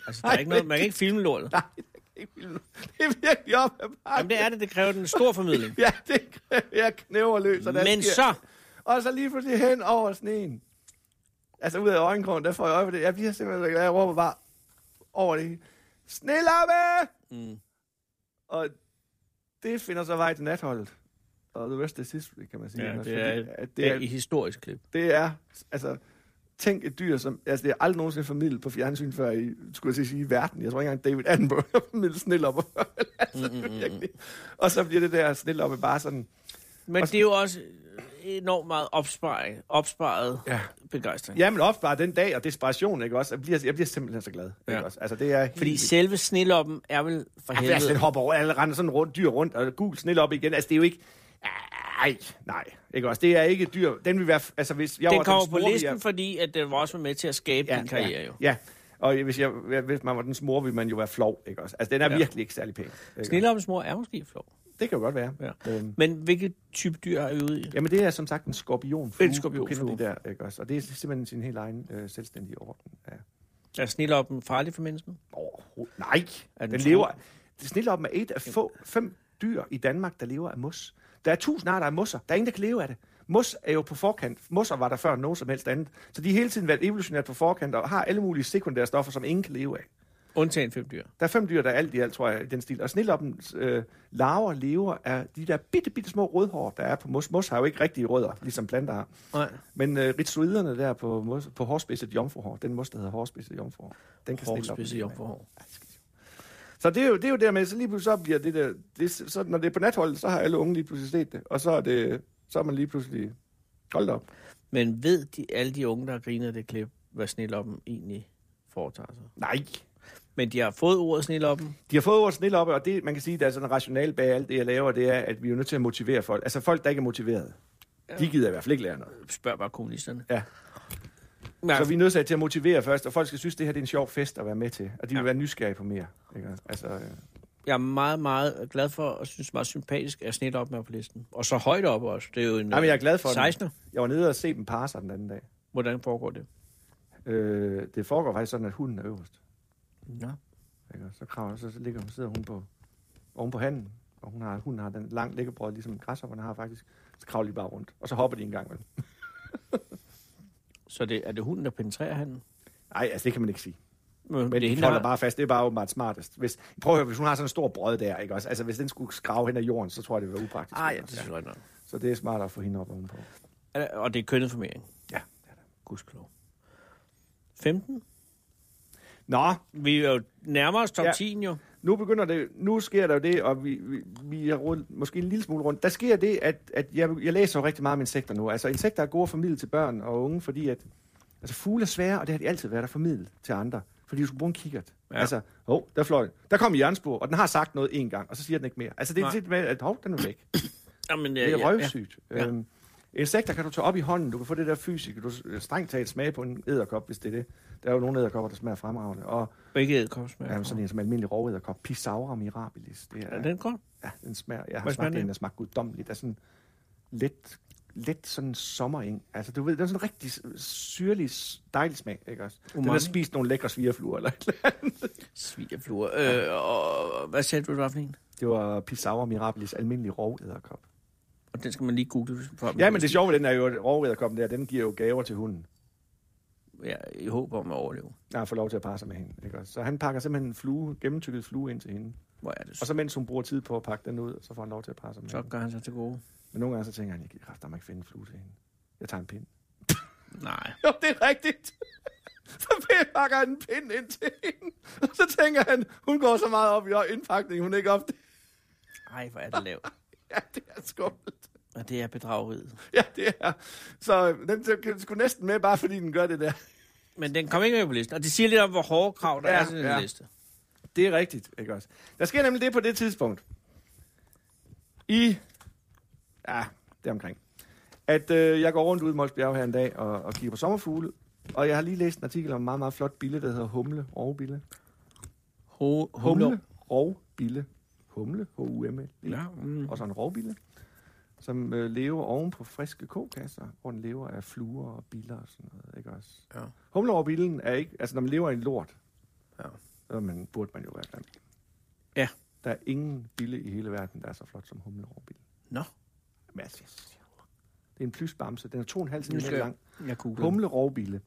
C: Altså, der er ikke noget, man kan ikke filme lortet.
D: nej, det er ikke vildt. Det er virkelig op ad bakke.
C: Jamen, det er det. Det kræver en stor formidling.
D: Ja, det jeg knæver løs. og der
C: Men
D: sker-
C: så...
D: Og så lige pludselig hen over sneen. Altså ud af øjenkrogen, der får jeg øje på det. Jeg bliver simpelthen så glad. Jeg råber bare over det hele. Snelappe!
C: Mm.
D: Og det finder så vej til natholdet. Og the rest is history, kan man sige.
C: Ja,
D: Anders,
C: det
D: fordi
C: er,
D: at
C: det er et historisk klip.
D: det er, altså, tænk et dyr, som, altså det er aldrig nogensinde formidlet på fjernsyn før i, skulle jeg til at sige, i verden. Jeg tror ikke engang David Attenborough har formidlet snelopper.
C: Mm,
D: altså, virkelig. Og så bliver det der sneloppe bare sådan,
C: Men
D: Og-
C: det er jo også enormt meget opsparing, opsparet ja.
D: Ja.
C: begejstring. Ja.
D: Ja, men opspare den dag og desperation, ikke også? Jeg bliver, jeg bliver simpelthen så glad.
C: Ja.
D: Ikke også? Altså, det er
C: Fordi
D: helt...
C: selve sneloppen er vel for
D: Ja, altså, den
C: helvede...
D: hopper over, alle render sådan rundt, dyr rundt, og gul snille op igen. Altså, det er jo ikke... Ej, nej. Ikke også? Det er ikke et dyr. Den vil være... f- Altså, hvis jeg var
C: Den kommer på
D: smurvige-
C: listen, fordi at den var også med til at skabe ja, din karriere
D: ja,
C: jo.
D: Ja, og hvis, jeg, hvis man var den smor, ville man jo være flov, ikke også? Altså, den er
C: Ja.
D: ja. virkelig ikke særlig pæn. ikke?
C: Sneloppens mor er måske flov.
D: Det kan jo godt være.
C: Ja.
D: Øhm,
C: Men hvilket type dyr er vi ude i?
D: jamen, det er som sagt en skorpionflue.
C: En skorpionflue.
D: Du kender de der, ikke også? Og det er simpelthen sin helt egen øh, selvstændige orden af
C: Er sneloppen farlig for mennesken?
D: Overhovedet. Nej,
C: Er den
D: den
C: tro-
D: lever... Sneloppen er et af få, fem dyr i Danmark, der lever af mos. Der er tusind arter af mosser. Der er ingen, der kan leve af det. Mos er jo på forkant. Mosser var der før nogen som helst andet. Så de har hele tiden været evolutionært på forkant og har alle mulige sekundære stoffer, som ingen kan leve af.
C: Undtagen fem dyr.
D: Der er fem dyr, der er alt i alt, tror jeg, i den stil. Og sneloppens øh, larver lever af de der bitte, bitte små rødhår, der er på mos. Mos har jo ikke rigtige rødder, ligesom planter har.
C: Nej.
D: Men øh, ritualerne der på, mos, på hårspidset jomfruhår, den mos, der hedder hårspidset jomfruhår, den kan sneloppen
C: Hårdspidse
D: leve af.
C: jomfruhår.
D: Så det er jo, det er jo dermed, så lige pludselig så bliver det der, det, så når det er på natholdet, så har alle unge lige pludselig set det, og så er, det, så er man lige pludselig, hold da op.
C: Men ved de, alle de unge, der griner af det klip, hvad sneloppen egentlig foretager sig?
D: Nej.
C: Men de har fået ordet sneloppen.
D: De har fået ordet snille op, og det, man kan sige, der er sådan en rationale bag alt det, jeg laver, det er, at vi er jo nødt til at motivere folk. Altså folk, der ikke er motiveret, de gider i hvert fald ikke lære noget.
C: Spørg bare kommunisterne.
D: Ja.
C: Men,
D: Så vi er nødt til at motivere først, og folk skal synes, det her det er en sjov fest at være med til. Og de vil
C: Ja.
D: være nysgerrige på mere. Ikke? Altså, øh,
C: Jeg er meget, meget glad for, og synes meget sympatisk, at sneloppen er på listen. Og så højt op også. Det er jo en
D: Jamen, jeg er glad for den.
C: 16.
D: jeg var nede og se dem parre sig den anden dag.
C: Hvordan foregår det?
D: Øh, det foregår faktisk sådan, at hunden er øverst.
C: Ja.
D: Ikke? Og Så, kravler, så, så ligger hun, sidder hun på, oven på handen, og hun har, hun har den lang læggebrød, ligesom græshopperne har faktisk. Så kravler de bare rundt, og så hopper de en gang. imellem.
C: Så det, er det hunden, der penetrerer handen?
D: Nej, altså det kan man ikke sige.
C: Men,
D: Men
C: det er
D: det
C: hende,
D: holder
C: der...
D: bare fast. Det er bare åbenbart smartest. Hvis, prøv at høre, hvis hun har sådan en stor brød der, ikke også? Altså, hvis den skulle skrave hen ad jorden, så tror jeg, det ville være upraktisk.
C: Ah, ja, det synes jeg godt nok.
D: Så det er smart at få hende op ovenpå.
C: Er- Og det er kønnet formering.
D: Ja.
C: Gudskelov. 15?
D: Nå,
C: Vi er jo nærmere os top ja.
D: Ja.
C: 10 jo.
D: nu begynder det, nu sker der jo det, og vi, vi, vi er rundt, måske en lille smule rundt. Der sker det, at, at jeg, jeg læser jo rigtig meget om insekter nu. Altså, insekter er gode at formidle til børn og unge, fordi at, altså, fugle er svære, og det har de altid været at formidle til andre. Fordi du skulle bruge en kikkert.
C: Ja.
D: Ja. Altså, hov, der fløj den. Der kom jernspor, og den har sagt noget en gang, og så siger den ikke mere. Altså, det er
C: Nej.
D: lidt med, at hov, den er væk.
C: Jamen, øh,
D: Det er røvsygt.
C: Ja.
D: Ja. Øhm, insekter kan du tage op i hånden, du kan få det der fysik, du kan strengt taget smage på en æderkop, hvis det er det. Der er jo nogle æderkopper, der smager fremragende. Og
C: Begge æderkopsmag.
D: ja, sådan en som almindelig rovæderkop, Pisaura mirabilis, det
C: Er
D: er,
C: den god?
D: ja, den smager, jeg har
C: Hvad smager
D: smagt
C: den?
D: en, der smager guddommeligt. Der er sådan let, let sådan sommereng. Altså, du ved, den er sådan en rigtig s- syrlig, s- dejlig smag, ikke også? Umami. Den
C: Umami.
D: har spist nogle lækre svigerfluer, eller et eller
C: Svigerfluer. Øh, og hvad sagde du, det var for en?
D: andet. Det var Pisaura mirabilis, almindelig rovæderkop.
C: Og den skal man lige google. hvis- For, at man
D: Ja,
C: kan
D: men det
C: huske
D: sjove ved den er jo, at rovæderkoppen der, den giver jo gaver til hunden.
C: den. Ja, i håb om at overleve.
D: når han får lov til at parre sig med hende. Ikke? også? Så han pakker simpelthen en flue, gennemtykket flue ind til hende.
C: Hvor er det
D: Og så mens hun bruger tid på at pakke den ud, så får han lov til at parre sig med
C: så
D: hende.
C: gør han sig til gode.
D: Men nogle gange så tænker han, jeg kan kræfter mig ikke finde en flue til hende. Jeg tager en pind.
C: Nej.
D: Jo, det er rigtigt. Så pakker han en pind ind til hende. Og så tænker han, hun går så meget op i indpakning, hun ikke op.
C: Ej, hvor er det lavt.
D: Ja, det er skummelt.
C: Og det er bedrageriet.
D: Ja, det er. Så øh, den t- skulle næsten med, bare fordi den gør det der.
C: Men den kom ikke med på listen. Og det siger lidt om, hvor hårde krav der ja,
D: Ja,
C: er til den ja.
D: ja.
C: liste.
D: Det er rigtigt, ikke også? Der sker nemlig det på det tidspunkt. I... Ja, det er omkring. At øh, jeg går rundt ude i Mols Bjerge her en dag og, og kigger på sommerfugle. Og jeg har lige læst en artikel om en meget, meget flot bille, der hedder Humle, Rovbille.
C: Ho-
D: Humle, Rovbille. Humle, H-U-M-L.
C: Ja, mm.
D: Og så en rovbille, som øh, lever oven på friske kokasser, hvor den lever af fluer og biller og sådan noget, ikke også?
C: Ja.
D: Humlerovbillen er ikke... Altså, når man lever i en lort,
C: Ja.
D: så er man, burde man jo være grim.
C: Ja.
D: Der er ingen bille i hele verden, der er så flot som humlerovbillen.
C: Nå,
D: Masser. Det er en plysbamse. Den er 2,5
C: nu skal
D: cm
C: jeg,
D: lang.
C: jeg google. den.
D: Humlerovbille.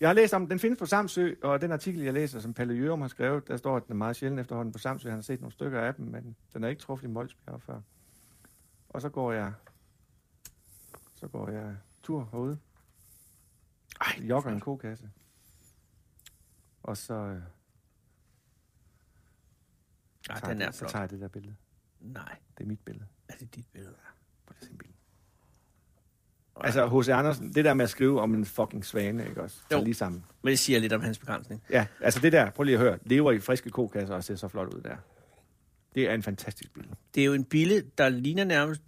D: Jeg har læst om, den. den findes på Samsø, og den artikel, jeg læser, som Palle Jørum har skrevet, der står, at den er meget sjældent efterhånden på Samsø. Han har set nogle stykker af dem, men den er ikke truffet i Molsbjerg før. Og så går jeg, så går jeg tur herude.
C: Ej,
D: Jeg jogger en kokasse. Og så, øh,
C: Ej,
D: tager,
C: den er
D: jeg- så
C: flot.
D: tager jeg det der billede.
C: Nej,
D: Det er mit billede.
C: er det dit billede?
D: Prøv lige at se en billede. Altså, H.C. Andersen, det der med at skrive om en fucking svane, ikke også? ligesom-
C: Jo.
D: Jo. Lige sammen.
C: Men det siger lidt om hans begrænsning.
D: Ja, altså det der, prøv lige at høre, lever i friske kokasser og ser så flot ud der. Det er en fantastisk bil.
C: Det er jo en bille, der ligner nærmest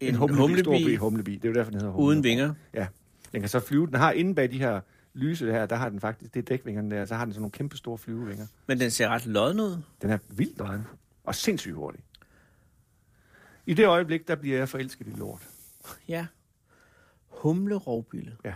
C: en, en humlebi,
D: humlebi, stor
C: humlebi
D: bi, humlebi. Det er jo derfor, den hedder humlebi.
C: uden vinger.
D: Ja. Den kan så flyve. Den har inde bag de her lyse her, der har den faktisk, det er dækvingerne der, så har den sådan nogle kæmpe store flyvevinger.
C: Men den ser ret lodden ud.
D: Den er vildt nøgen og sindssygt hurtig. I det øjeblik, der bliver jeg forelsket i lort.
C: Ja. Humlerovbille.
D: Ja.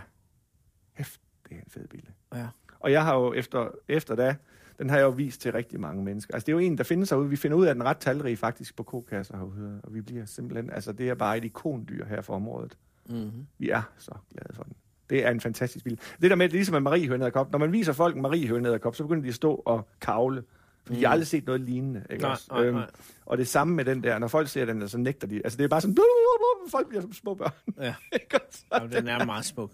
D: Hæft, det er en fed bil.
C: Ja.
D: Og jeg har jo efter, efter da, den har jeg jo vist til rigtig mange mennesker. Altså det er jo en, der findes herude. Vi finder ud af, at den er ret talrig faktisk på kokasser herude. Og vi bliver simpelthen, altså det er bare et ikondyr her for området.
C: Mm-hmm.
D: Vi er så glade for den. Det er en fantastisk bil. Det der med, at det er ligesom en mariehønæderkop. Når man viser folk en mariehønæderkop, så begynder de at stå og kavle. Fordi mm. jeg har aldrig set noget lignende. Ikke
C: Nej,
D: også?
C: nej,
D: Øhm,
C: nej.
D: Og det samme med den der. Når folk ser den, der, så nægter de. Altså det er bare sådan, folk bliver som små børn.
C: Ja.
D: Ikke også?
C: Jamen, den er meget smuk.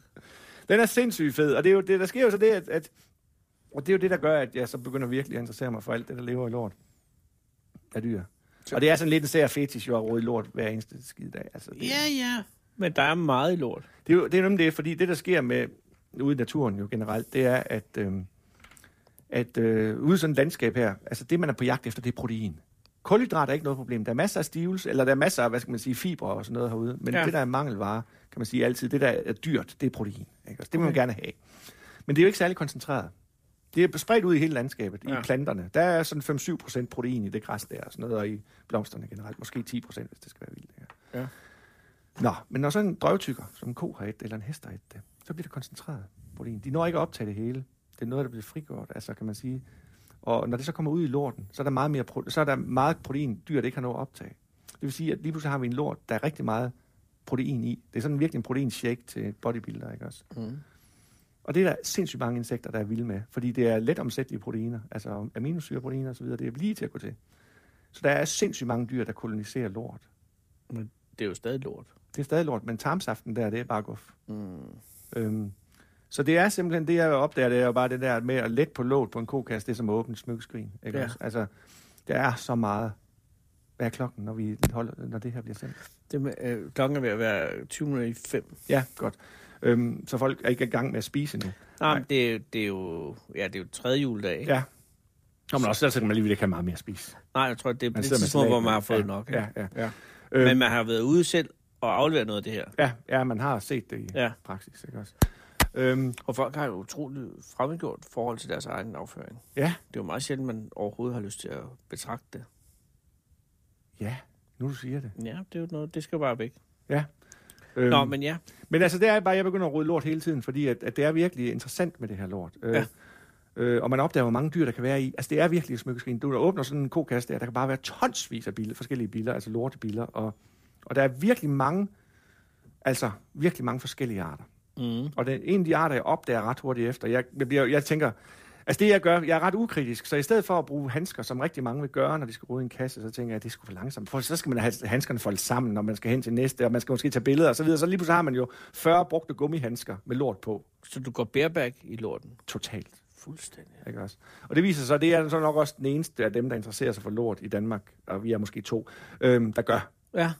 D: Den er sindssygt fed, og det er jo, det, der sker jo så det, at, at, og det er jo det, der gør, at jeg så begynder virkelig at interessere mig for alt det, der lever i lort af dyr. Og det er sådan lidt en sær fetish, jo, at rode i lort hver eneste skide dag. Altså, det,
C: Ja, ja. Men der er meget lort.
D: Det er jo det, er nemlig det, fordi det, der sker med ude i naturen jo generelt, det er, at, øh, at øh, ude i sådan et landskab her, altså det, man er på jagt efter, det er protein. Kulhydrat er ikke noget problem. Der er masser af stivelse, eller der er masser af, hvad skal man sige, fibre og sådan noget herude. Men
C: Ja.
D: ja. det, der er mangelvare, kan man sige altid, det, der er dyrt, det er protein. Ikke? Altså, det vil man gerne have. Men det er jo ikke særlig koncentreret. Det er spredt ud i hele landskabet, ja.
C: Ja.
D: i planterne. Der er sådan 5-7 procent protein i det græs der, og sådan noget, og i blomsterne generelt. Måske 10 procent, hvis det skal være vildt. Ja. Nå, men når sådan en drøvtykker, som en ko har et, eller en hest har et det, så bliver det koncentreret protein. De når ikke at optage det hele. Det er noget, der bliver frigjort, altså kan man sige. Og når det så kommer ud i lorten, så er der meget, mere pro- så er der meget protein, dyret ikke har noget at optage. Det vil sige, at lige pludselig har vi en lort, der er rigtig meget protein i. Det er sådan virkelig en protein shake til bodybuilder, ikke også?
C: Mm.
D: Og det er der sindssygt mange insekter, der er vilde med, fordi det er let omsættelige proteiner, altså aminosyreproteiner osv., det er lige til at gå til. Så der er sindssygt mange dyr, der koloniserer lort.
C: Men det er jo stadig lort.
D: Det er stadig lort, men tarmsaften der, det er bare guf.
C: Mm.
D: Øhm, så det er simpelthen det, jeg opdager, det er jo bare det der med at let på låt på en kokasse, det er som at åbne et smykkeskrin. Ikke
C: Ja.
D: ja. også? Altså, der er så meget. Hvad er klokken, når, vi holder, når det her bliver sendt?
C: Det med, øh, klokken er ved at være 20 minutter i fem.
D: Ja, godt. Øhm, så folk er ikke i gang med at spise nu.
C: Nej,
D: Nej.
C: men det, er jo- det, er jo, ja, det er jo tredje juledag, ikke?
D: Ja. Nå, men også der kan man alligevel ikke have meget mere at spise.
C: Nej, jeg tror, det er på
D: Man
C: det
D: sidder med
C: tidspunkt,
D: salat,
C: hvor man har
D: men-
C: fået
D: ja,
C: nok. ikke?
D: Ja, ja. ja.
C: Men
D: Øhm,
C: man har været ude selv og afleveret noget af det her.
D: ja, ja, man har set det i
C: Ja.
D: ja. praksis, ikke også? Øhm,
C: Og folk har jo utroligt fremmedgjort forhold til deres egen afføring.
D: ja,
C: Det er jo meget sjældent, man overhovedet har lyst til at betragte det.
D: ja, nu du siger det.
C: Ja, det er jo noget, det skal bare væk.
D: Ja. Øhm,
C: Nå, men ja.
D: Men altså, det er bare, jeg begynder at rydde lort hele tiden, fordi at, at det er virkelig interessant med det her lort.
C: Ja.
D: Øh, øh, og man opdager, hvor mange dyr, der kan være i. Altså, det er virkelig et smykkeskrin. Du åbner sådan en kokasse der, der kan bare være tonsvis af biler, forskellige biler, altså lortebiler. Og, og der er virkelig mange, altså virkelig mange forskellige arter.
C: Mm.
D: Og den, en af de arter, jeg opdager ret hurtigt efter, jeg, jeg, bliver, jeg tænker, altså det jeg gør, jeg er ret ukritisk, så i stedet for at bruge handsker, som rigtig mange vil gøre, når de skal rode i en kasse, så tænker jeg, at det skulle for langsomt. For så skal man have handskerne foldet sammen, når man skal hen til næste, og man skal måske tage billeder og så videre. Så lige pludselig har man jo 40 brugte gummihandsker med lort på,
C: Så du går bareback i lorten.
D: totalt.
C: Fuldstændig.
D: Ikke også? Og det viser sig, at det er så nok også den eneste af dem, der interesserer sig for lort i Danmark, og vi er måske to, øhm, der gør.
C: Ja.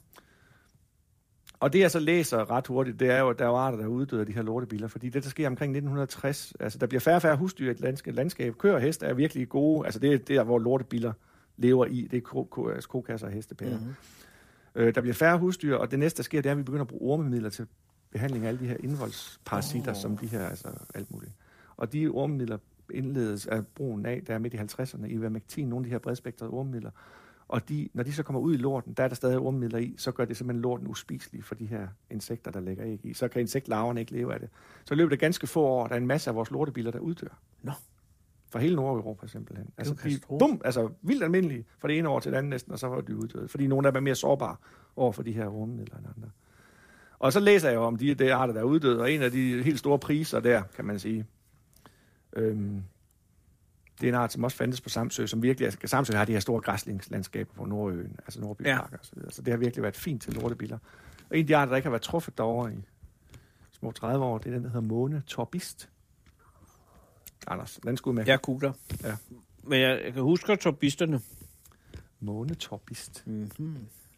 D: Og det, jeg så læser ret hurtigt, det er jo, at der er jo arter, der uddøder de her lortebiler, fordi det, der sker omkring 1960, altså der bliver færre og færre husdyr i et landskab. landskab. Køer og heste er virkelig gode, altså det er der, hvor lortebiler lever i, det er ko- ko- altså kokasser og hestepærer. Mm-hmm. Øh, der bliver færre husdyr, og det næste, der sker, det er, at vi begynder at bruge ormemidler til behandling af alle de her indvoldsparasitter, oh. som de her, altså alt muligt. Og de ormemidler indledes af brugen af, der er midt i 50'erne, ivermectin, nogle af de her bredspektrede ormemidler. Og de, når de så kommer ud i lorten, der er der stadig ormemidler i, så gør det simpelthen lorten uspiselig for de her insekter, der lægger æg i. Så kan insektlarverne ikke leve af det. Så i løbet af ganske få år, der er en masse af vores lortebiler, der uddør.
C: Nå.
D: Fra hele Nordeuropa simpelthen. Altså,
C: jo
D: de,
C: katastrofe.
D: bum, altså vildt almindelige fra det ene år til det andet næsten, og så var de uddøde. Fordi nogle af dem er mere sårbare over for de her ormemidler end andre. Og så læser jeg jo om de, de arter, der er uddøde, og en af de helt store priser der, kan man sige, øhm, det er en art, som også fandtes på Samsø, som virkelig, altså Samsø har de her store græslingslandskaber på Nordøen, altså Nordby
C: Ja.
D: ja. og så videre. Så det har virkelig været fint til lortebiller. Og en af de arter, der ikke har været truffet derovre i små 30 år, det er den, der hedder Måne Torbist. Anders, den skulle med.
C: Jeg googler.
D: Ja.
C: Men jeg, jeg kan huske at torbisterne.
D: Måne Torbist.
C: Mm-hmm.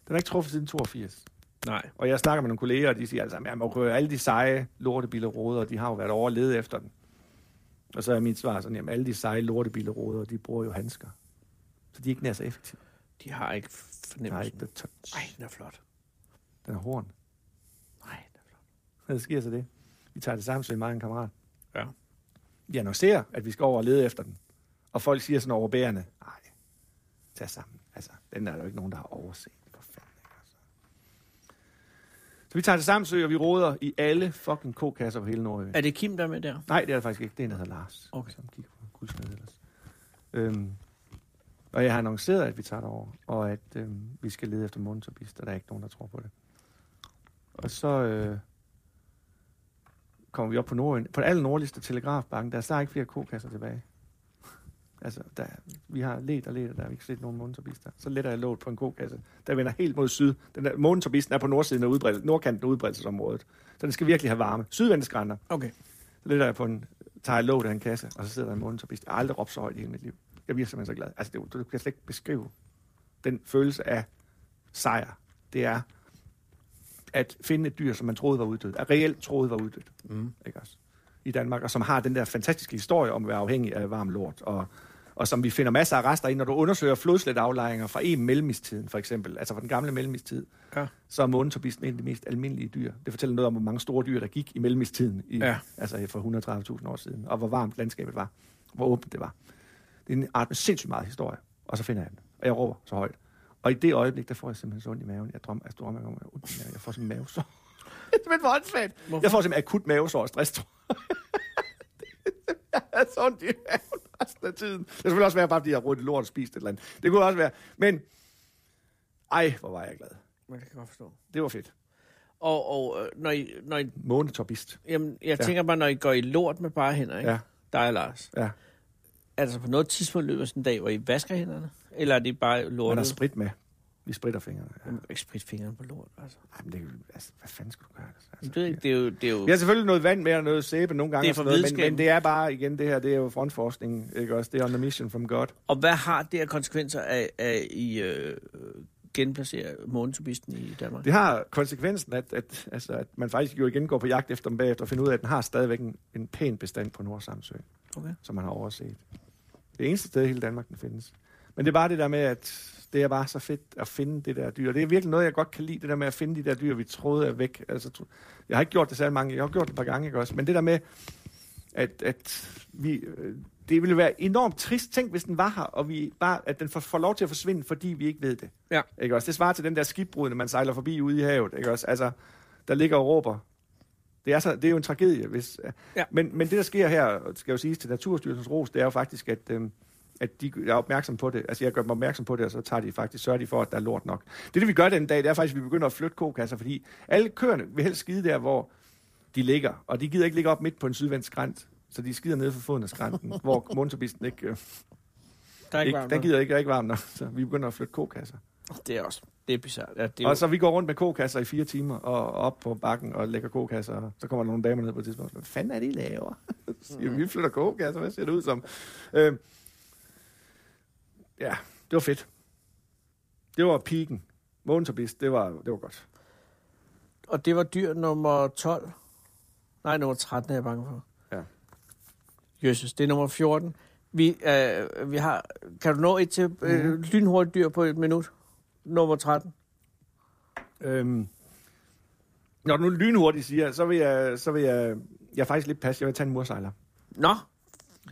D: Den er ikke truffet siden 82.
C: Nej.
D: Og jeg snakker med nogle kolleger, og de siger altså, at man må køre alle de seje lortebilerråder, de har jo været over at lede efter den. Og så er mit svar sådan, at alle de seje lortebilerråder, de bruger jo handsker. Så de er ikke nær så effektive.
C: De har ikke
D: Nej,
C: fornemmelsen.
D: ikke the touch.
C: Nej, den er flot.
D: Den er horn.
C: Nej, den er flot.
D: Så sker så det. Vi tager det samme som mig og en kammerat.
C: Ja.
D: Vi annoncerer, at vi skal over og lede efter den. Og folk siger sådan overbærende, nej, tag sammen. Altså, den er der jo ikke nogen, der har overset. For fanden, ikke? Altså. Så vi tager det sammen, og vi råder i alle fucking kokasser på hele Norge.
C: Er det Kim, der er med der?
D: Nej, det er det faktisk ikke. Det er en, der hedder Lars,
C: Okay.
D: som kigger på guldsmed ellers. Øhm, og jeg har annonceret, at vi tager det over, og at øhm, vi skal lede efter Montabist, og der er ikke nogen, der tror på det. Og så øh, kommer vi op på Nordøen. På den aller nordligste telegrafbanken, der er snart ikke flere kokasser tilbage. altså, der, vi har let og let, og der har vi ikke set nogen montabister. Så letter jeg låget på en kokasse, der vender helt mod syd. Den der, montabisten er på nordsiden af udbredelse, nordkanten af udbredelsesområdet. Så den skal virkelig have varme. Sydvendeskrænder.
C: Okay.
D: Så letter jeg på en, tager jeg låget af en kasse, og så sidder der en månedsopist. Jeg har aldrig råbt så højt i hele mit liv. Jeg bliver simpelthen så glad. Altså, det, er jo- du kan slet ikke beskrive den følelse af sejr. Det er, at finde et dyr, som man troede var uddødt, at reelt troede var uddødt, mm. ikke også? i Danmark, og som har den der fantastiske historie om at være afhængig af varm lort, og, og som vi finder masser af rester i, når du undersøger flodsletaflejringer fra en mellemistiden, for eksempel, altså fra den gamle mellemistid,
C: Ja.
D: så er månetorbisen en af de mest almindelige dyr. Det fortæller noget om, hvor mange store dyr, der gik i mellemistiden, i,
C: Ja.
D: ja. altså for 130.000 år siden, og hvor varmt landskabet var, hvor åbent det var. Det er en art med sindssygt meget historie, og så finder jeg den, og jeg råber så højt. Og i det øjeblik, der får jeg simpelthen så ondt i maven. Jeg drømmer, jeg drømmer om, at jeg, ondt i maven. jeg får sådan en mavesår. det er simpelthen for åndssvagt. Jeg får simpelthen akut mavesår og stress, tror jeg. jeg havde så ondt i maven resten af tiden. Det skulle også være, bare fordi jeg rundt lort og spiste et eller andet. Det kunne også være. Men, ej, hvor var jeg glad.
C: Men det kan jeg godt forstå.
D: Det var fedt.
C: Og, og øh, når I, når I,
D: Månetorbist.
C: jamen, jeg ja.
D: Ja.
C: tænker bare, når I går i lort med bare hænder, ikke?
D: Ja.
C: dig og Lars,
D: Ja,
C: altså på noget tidspunkt løber sådan en dag, hvor I vasker hænderne? Eller er det bare
D: man har
C: lortet?
D: sprit med. Vi spritter fingrene. Ja.
C: Jeg må ikke sprit fingrene på lort, altså.
D: Ej, men det, er jo- altså, hvad fanden skulle du gøre? Altså,
C: Men Det, er ikke- det er jo... Det er jo
D: Vi har selvfølgelig noget vand med og noget sæbe nogle gange,
C: Det er
D: og sådan
C: for
D: noget, men,
C: videnskaben.
D: men det er bare, igen, det her, det er jo frontforskning, ikke også? Det er on a mission from God.
C: Og hvad har det af konsekvenser af, af I øh, genplacerer månetubisten i Danmark?
D: Det har konsekvensen, at, at, altså, at man faktisk jo igen går på jagt efter dem bagefter og finder ud af, at den har stadigvæk en, en pæn bestand på Nordsamsø,
C: Okay.
D: som man har overset. Det eneste sted i hele Danmark, den findes. Men det er bare det der med, at det er bare så fedt at finde det der dyr. Det er virkelig noget, jeg godt kan lide, det der med at finde de der dyr, vi troede er væk. Altså, tro- jeg har ikke gjort det særlig mange, jeg har gjort det et par gange, ikke også? Men det der med, at, at vi, øh, det ville være enormt trist, tænk hvis den var her, og vi bare, at den får, får lov til at forsvinde, fordi vi ikke ved det.
C: Ja.
D: Ikke også? Det svarer til den der skibbrud, når man sejler forbi ude i havet. Ikke også? Altså, der ligger og råber. Det er, så, det er jo en tragedie. Hvis,
C: Ja.
D: men, men det, der sker her, og det skal jo siges til Naturstyrelsens ros, det er jo faktisk, at, øhm, at de er opmærksom på det. Altså, jeg gør dem opmærksom på det, og så tager de faktisk, sørger de for, at der er lort nok. Det, det vi gør den dag, det er faktisk, at vi begynder at flytte kokasser, fordi alle køerne vil helst skide der, hvor de ligger. Og de gider ikke ligge op midt på en sydvendt skrænt, så de skider nede for foden af skrænten, hvor motorbisten ikke, øh,
C: Der er ikke,
D: ikke
C: varmt
D: den
C: nok.
D: gider ikke, der er ikke varmt nok. Så vi begynder at flytte kokasser.
C: Det er også... Det er bizarrt. Ja, det er
D: Og så vi går rundt med kokasser i fire timer, og op på bakken og lægger kokasser, og så kommer der nogle damer ned på et tidspunkt. Hvad fanden er det, I laver? Så siger, vi,
C: Mhm.
D: vi flytter kokasser, hvad ser det ud som? Øh, ja, det var fedt. Det var piken. Månetorbist, det var, det var godt.
C: Og det var dyr nummer 12. Nej, nummer 13 er jeg bange for.
D: Ja.
C: Jesus, det er nummer 14. Vi, øh, vi har, kan du nå et til øh,
D: Mhm.
C: lynhurtigt dyr på et minut? Nummer 13.
D: Øhm, når du nu lynhurtigt siger, så vil jeg, så vil jeg, jeg er faktisk lidt pas, jeg vil tage en mursejler.
C: Nå,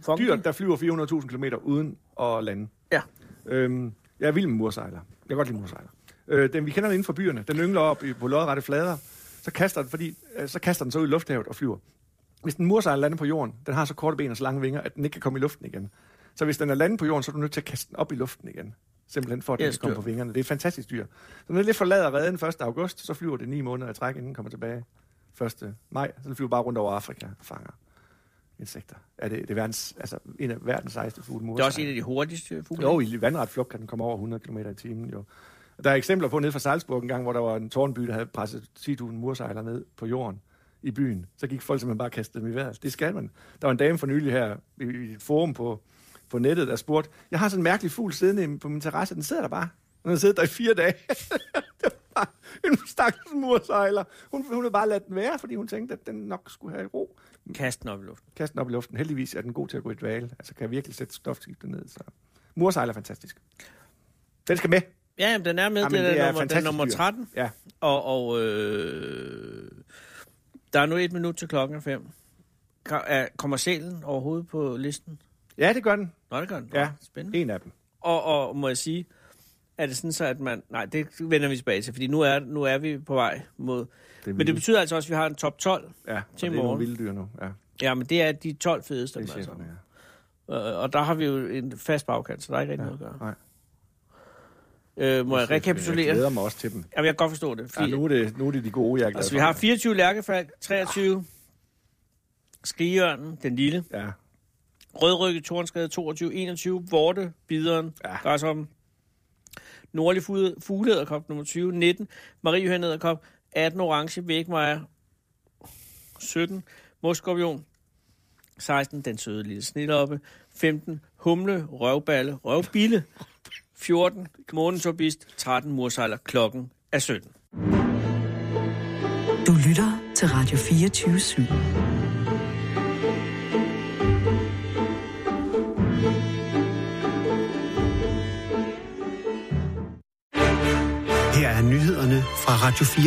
C: funky.
D: Dyr, der flyver 400.000 km uden at lande.
C: Ja.
D: Øhm, jeg er vild med mursejler. Jeg kan godt lide mursejler. Øh, den, vi kender den inden for byerne. Den yngler op i, på lodrette flader. Så kaster, den, fordi, øh, så kaster den så ud i lufthavet og flyver. Hvis den mursejler lander på jorden, den har så korte ben og så lange vinger, at den ikke kan komme i luften igen. Så hvis den er landet på jorden, så er du nødt til at kaste den op i luften igen. Simpelthen for, at den
C: Yes,
D: yes, kan komme
C: dyr.
D: på vingerne. Det er et fantastisk dyr. Så når det lidt forlader redden 1. august, så flyver det ni måneder i træk, inden den kommer tilbage 1. maj. Så den flyver bare rundt over Afrika og fanger insekter. Er det, det er verdens, altså, en af verdens sejeste fugle,
C: Det er også en af de hurtigste fugle.
D: Jo, i vandret flugt kan den komme over 100 km i timen, jo. Der er eksempler på nede fra Salzburg en gang, hvor der var en tårnby, der havde presset 10.000 mursejler ned på jorden i byen. Så gik folk simpelthen bare og kastede dem i vejret. Det skal man. Der var en dame for nylig her i i et forum på, på nettet, der spurgte, jeg har sådan en mærkelig fugl siddende i- på min terrasse, den sidder der bare. Den har siddet der i fire dage. det var bare en stakkels mursejler. Hun, hun havde bare ladet den være, fordi hun tænkte, at den nok skulle have ro.
C: Kast den op i luften.
D: Kast den op i luften. Heldigvis er den god til at gå i dvale. Altså kan virkelig sætte stofskiftet ned. Så. Mursejl er fantastisk. Den skal med.
C: Ja, jamen, den er med.
D: Jamen,
C: det,
D: det
C: er,
D: er
C: nummer, den er
D: fantastisk
C: nummer
D: dyr.
C: 13.
D: Ja.
C: Og, og øh, der er nu et minut til klokken er fem. Ka- er- Kommer sælen overhovedet på listen?
D: Ja, det gør den.
C: Nå, det gør den.
D: Ja.
C: Nå, Spændende.
D: En af dem.
C: Og, og må jeg sige, er det sådan så, at man... Nej, det vender vi tilbage til, fordi nu er, nu er vi på vej mod...
D: er
C: men det
D: vildt.
C: betyder altså også, at vi har en top 12.
D: Ja, og det er
C: morgen.
D: nogle vilde dyr nu. Ja,
C: Ja, men det er de 12 fedeste.
D: det er
C: Det altså.
D: cheferne, ja.
C: øh, og der har vi jo en fast bagkant, så der er ikke rigtig ja. noget at gøre.
D: Nej.
C: Øh, må jeg
D: Jeg
C: rekapitulere?
D: glæder mig også til dem.
C: Jamen, jeg kan godt forstå det.
D: Ja,
C: Fordi,
D: nu, er det, nu er det de gode, jeg er glad
C: altså,
D: for.
C: vi har 24 lærkefald, 23 skrigeørnen, den lille,
D: Ja,
C: rødrykket tornskade 22, 21, vorte, bideren, ja.
D: Ja.
C: græshoppen, nordlig fugle- fuglederkop nummer 20, 19, mariehønederkop, 18 orange, vægmejer, 17, morskorpion, 16, den søde lille sniloppe, 15, humle, røvballe, røvbille, 14, månetorbist, 13, mursejler, klokken er 17.
A: lyttere til Radio 24 7.
B: Her er nyhederne fra Radio 4.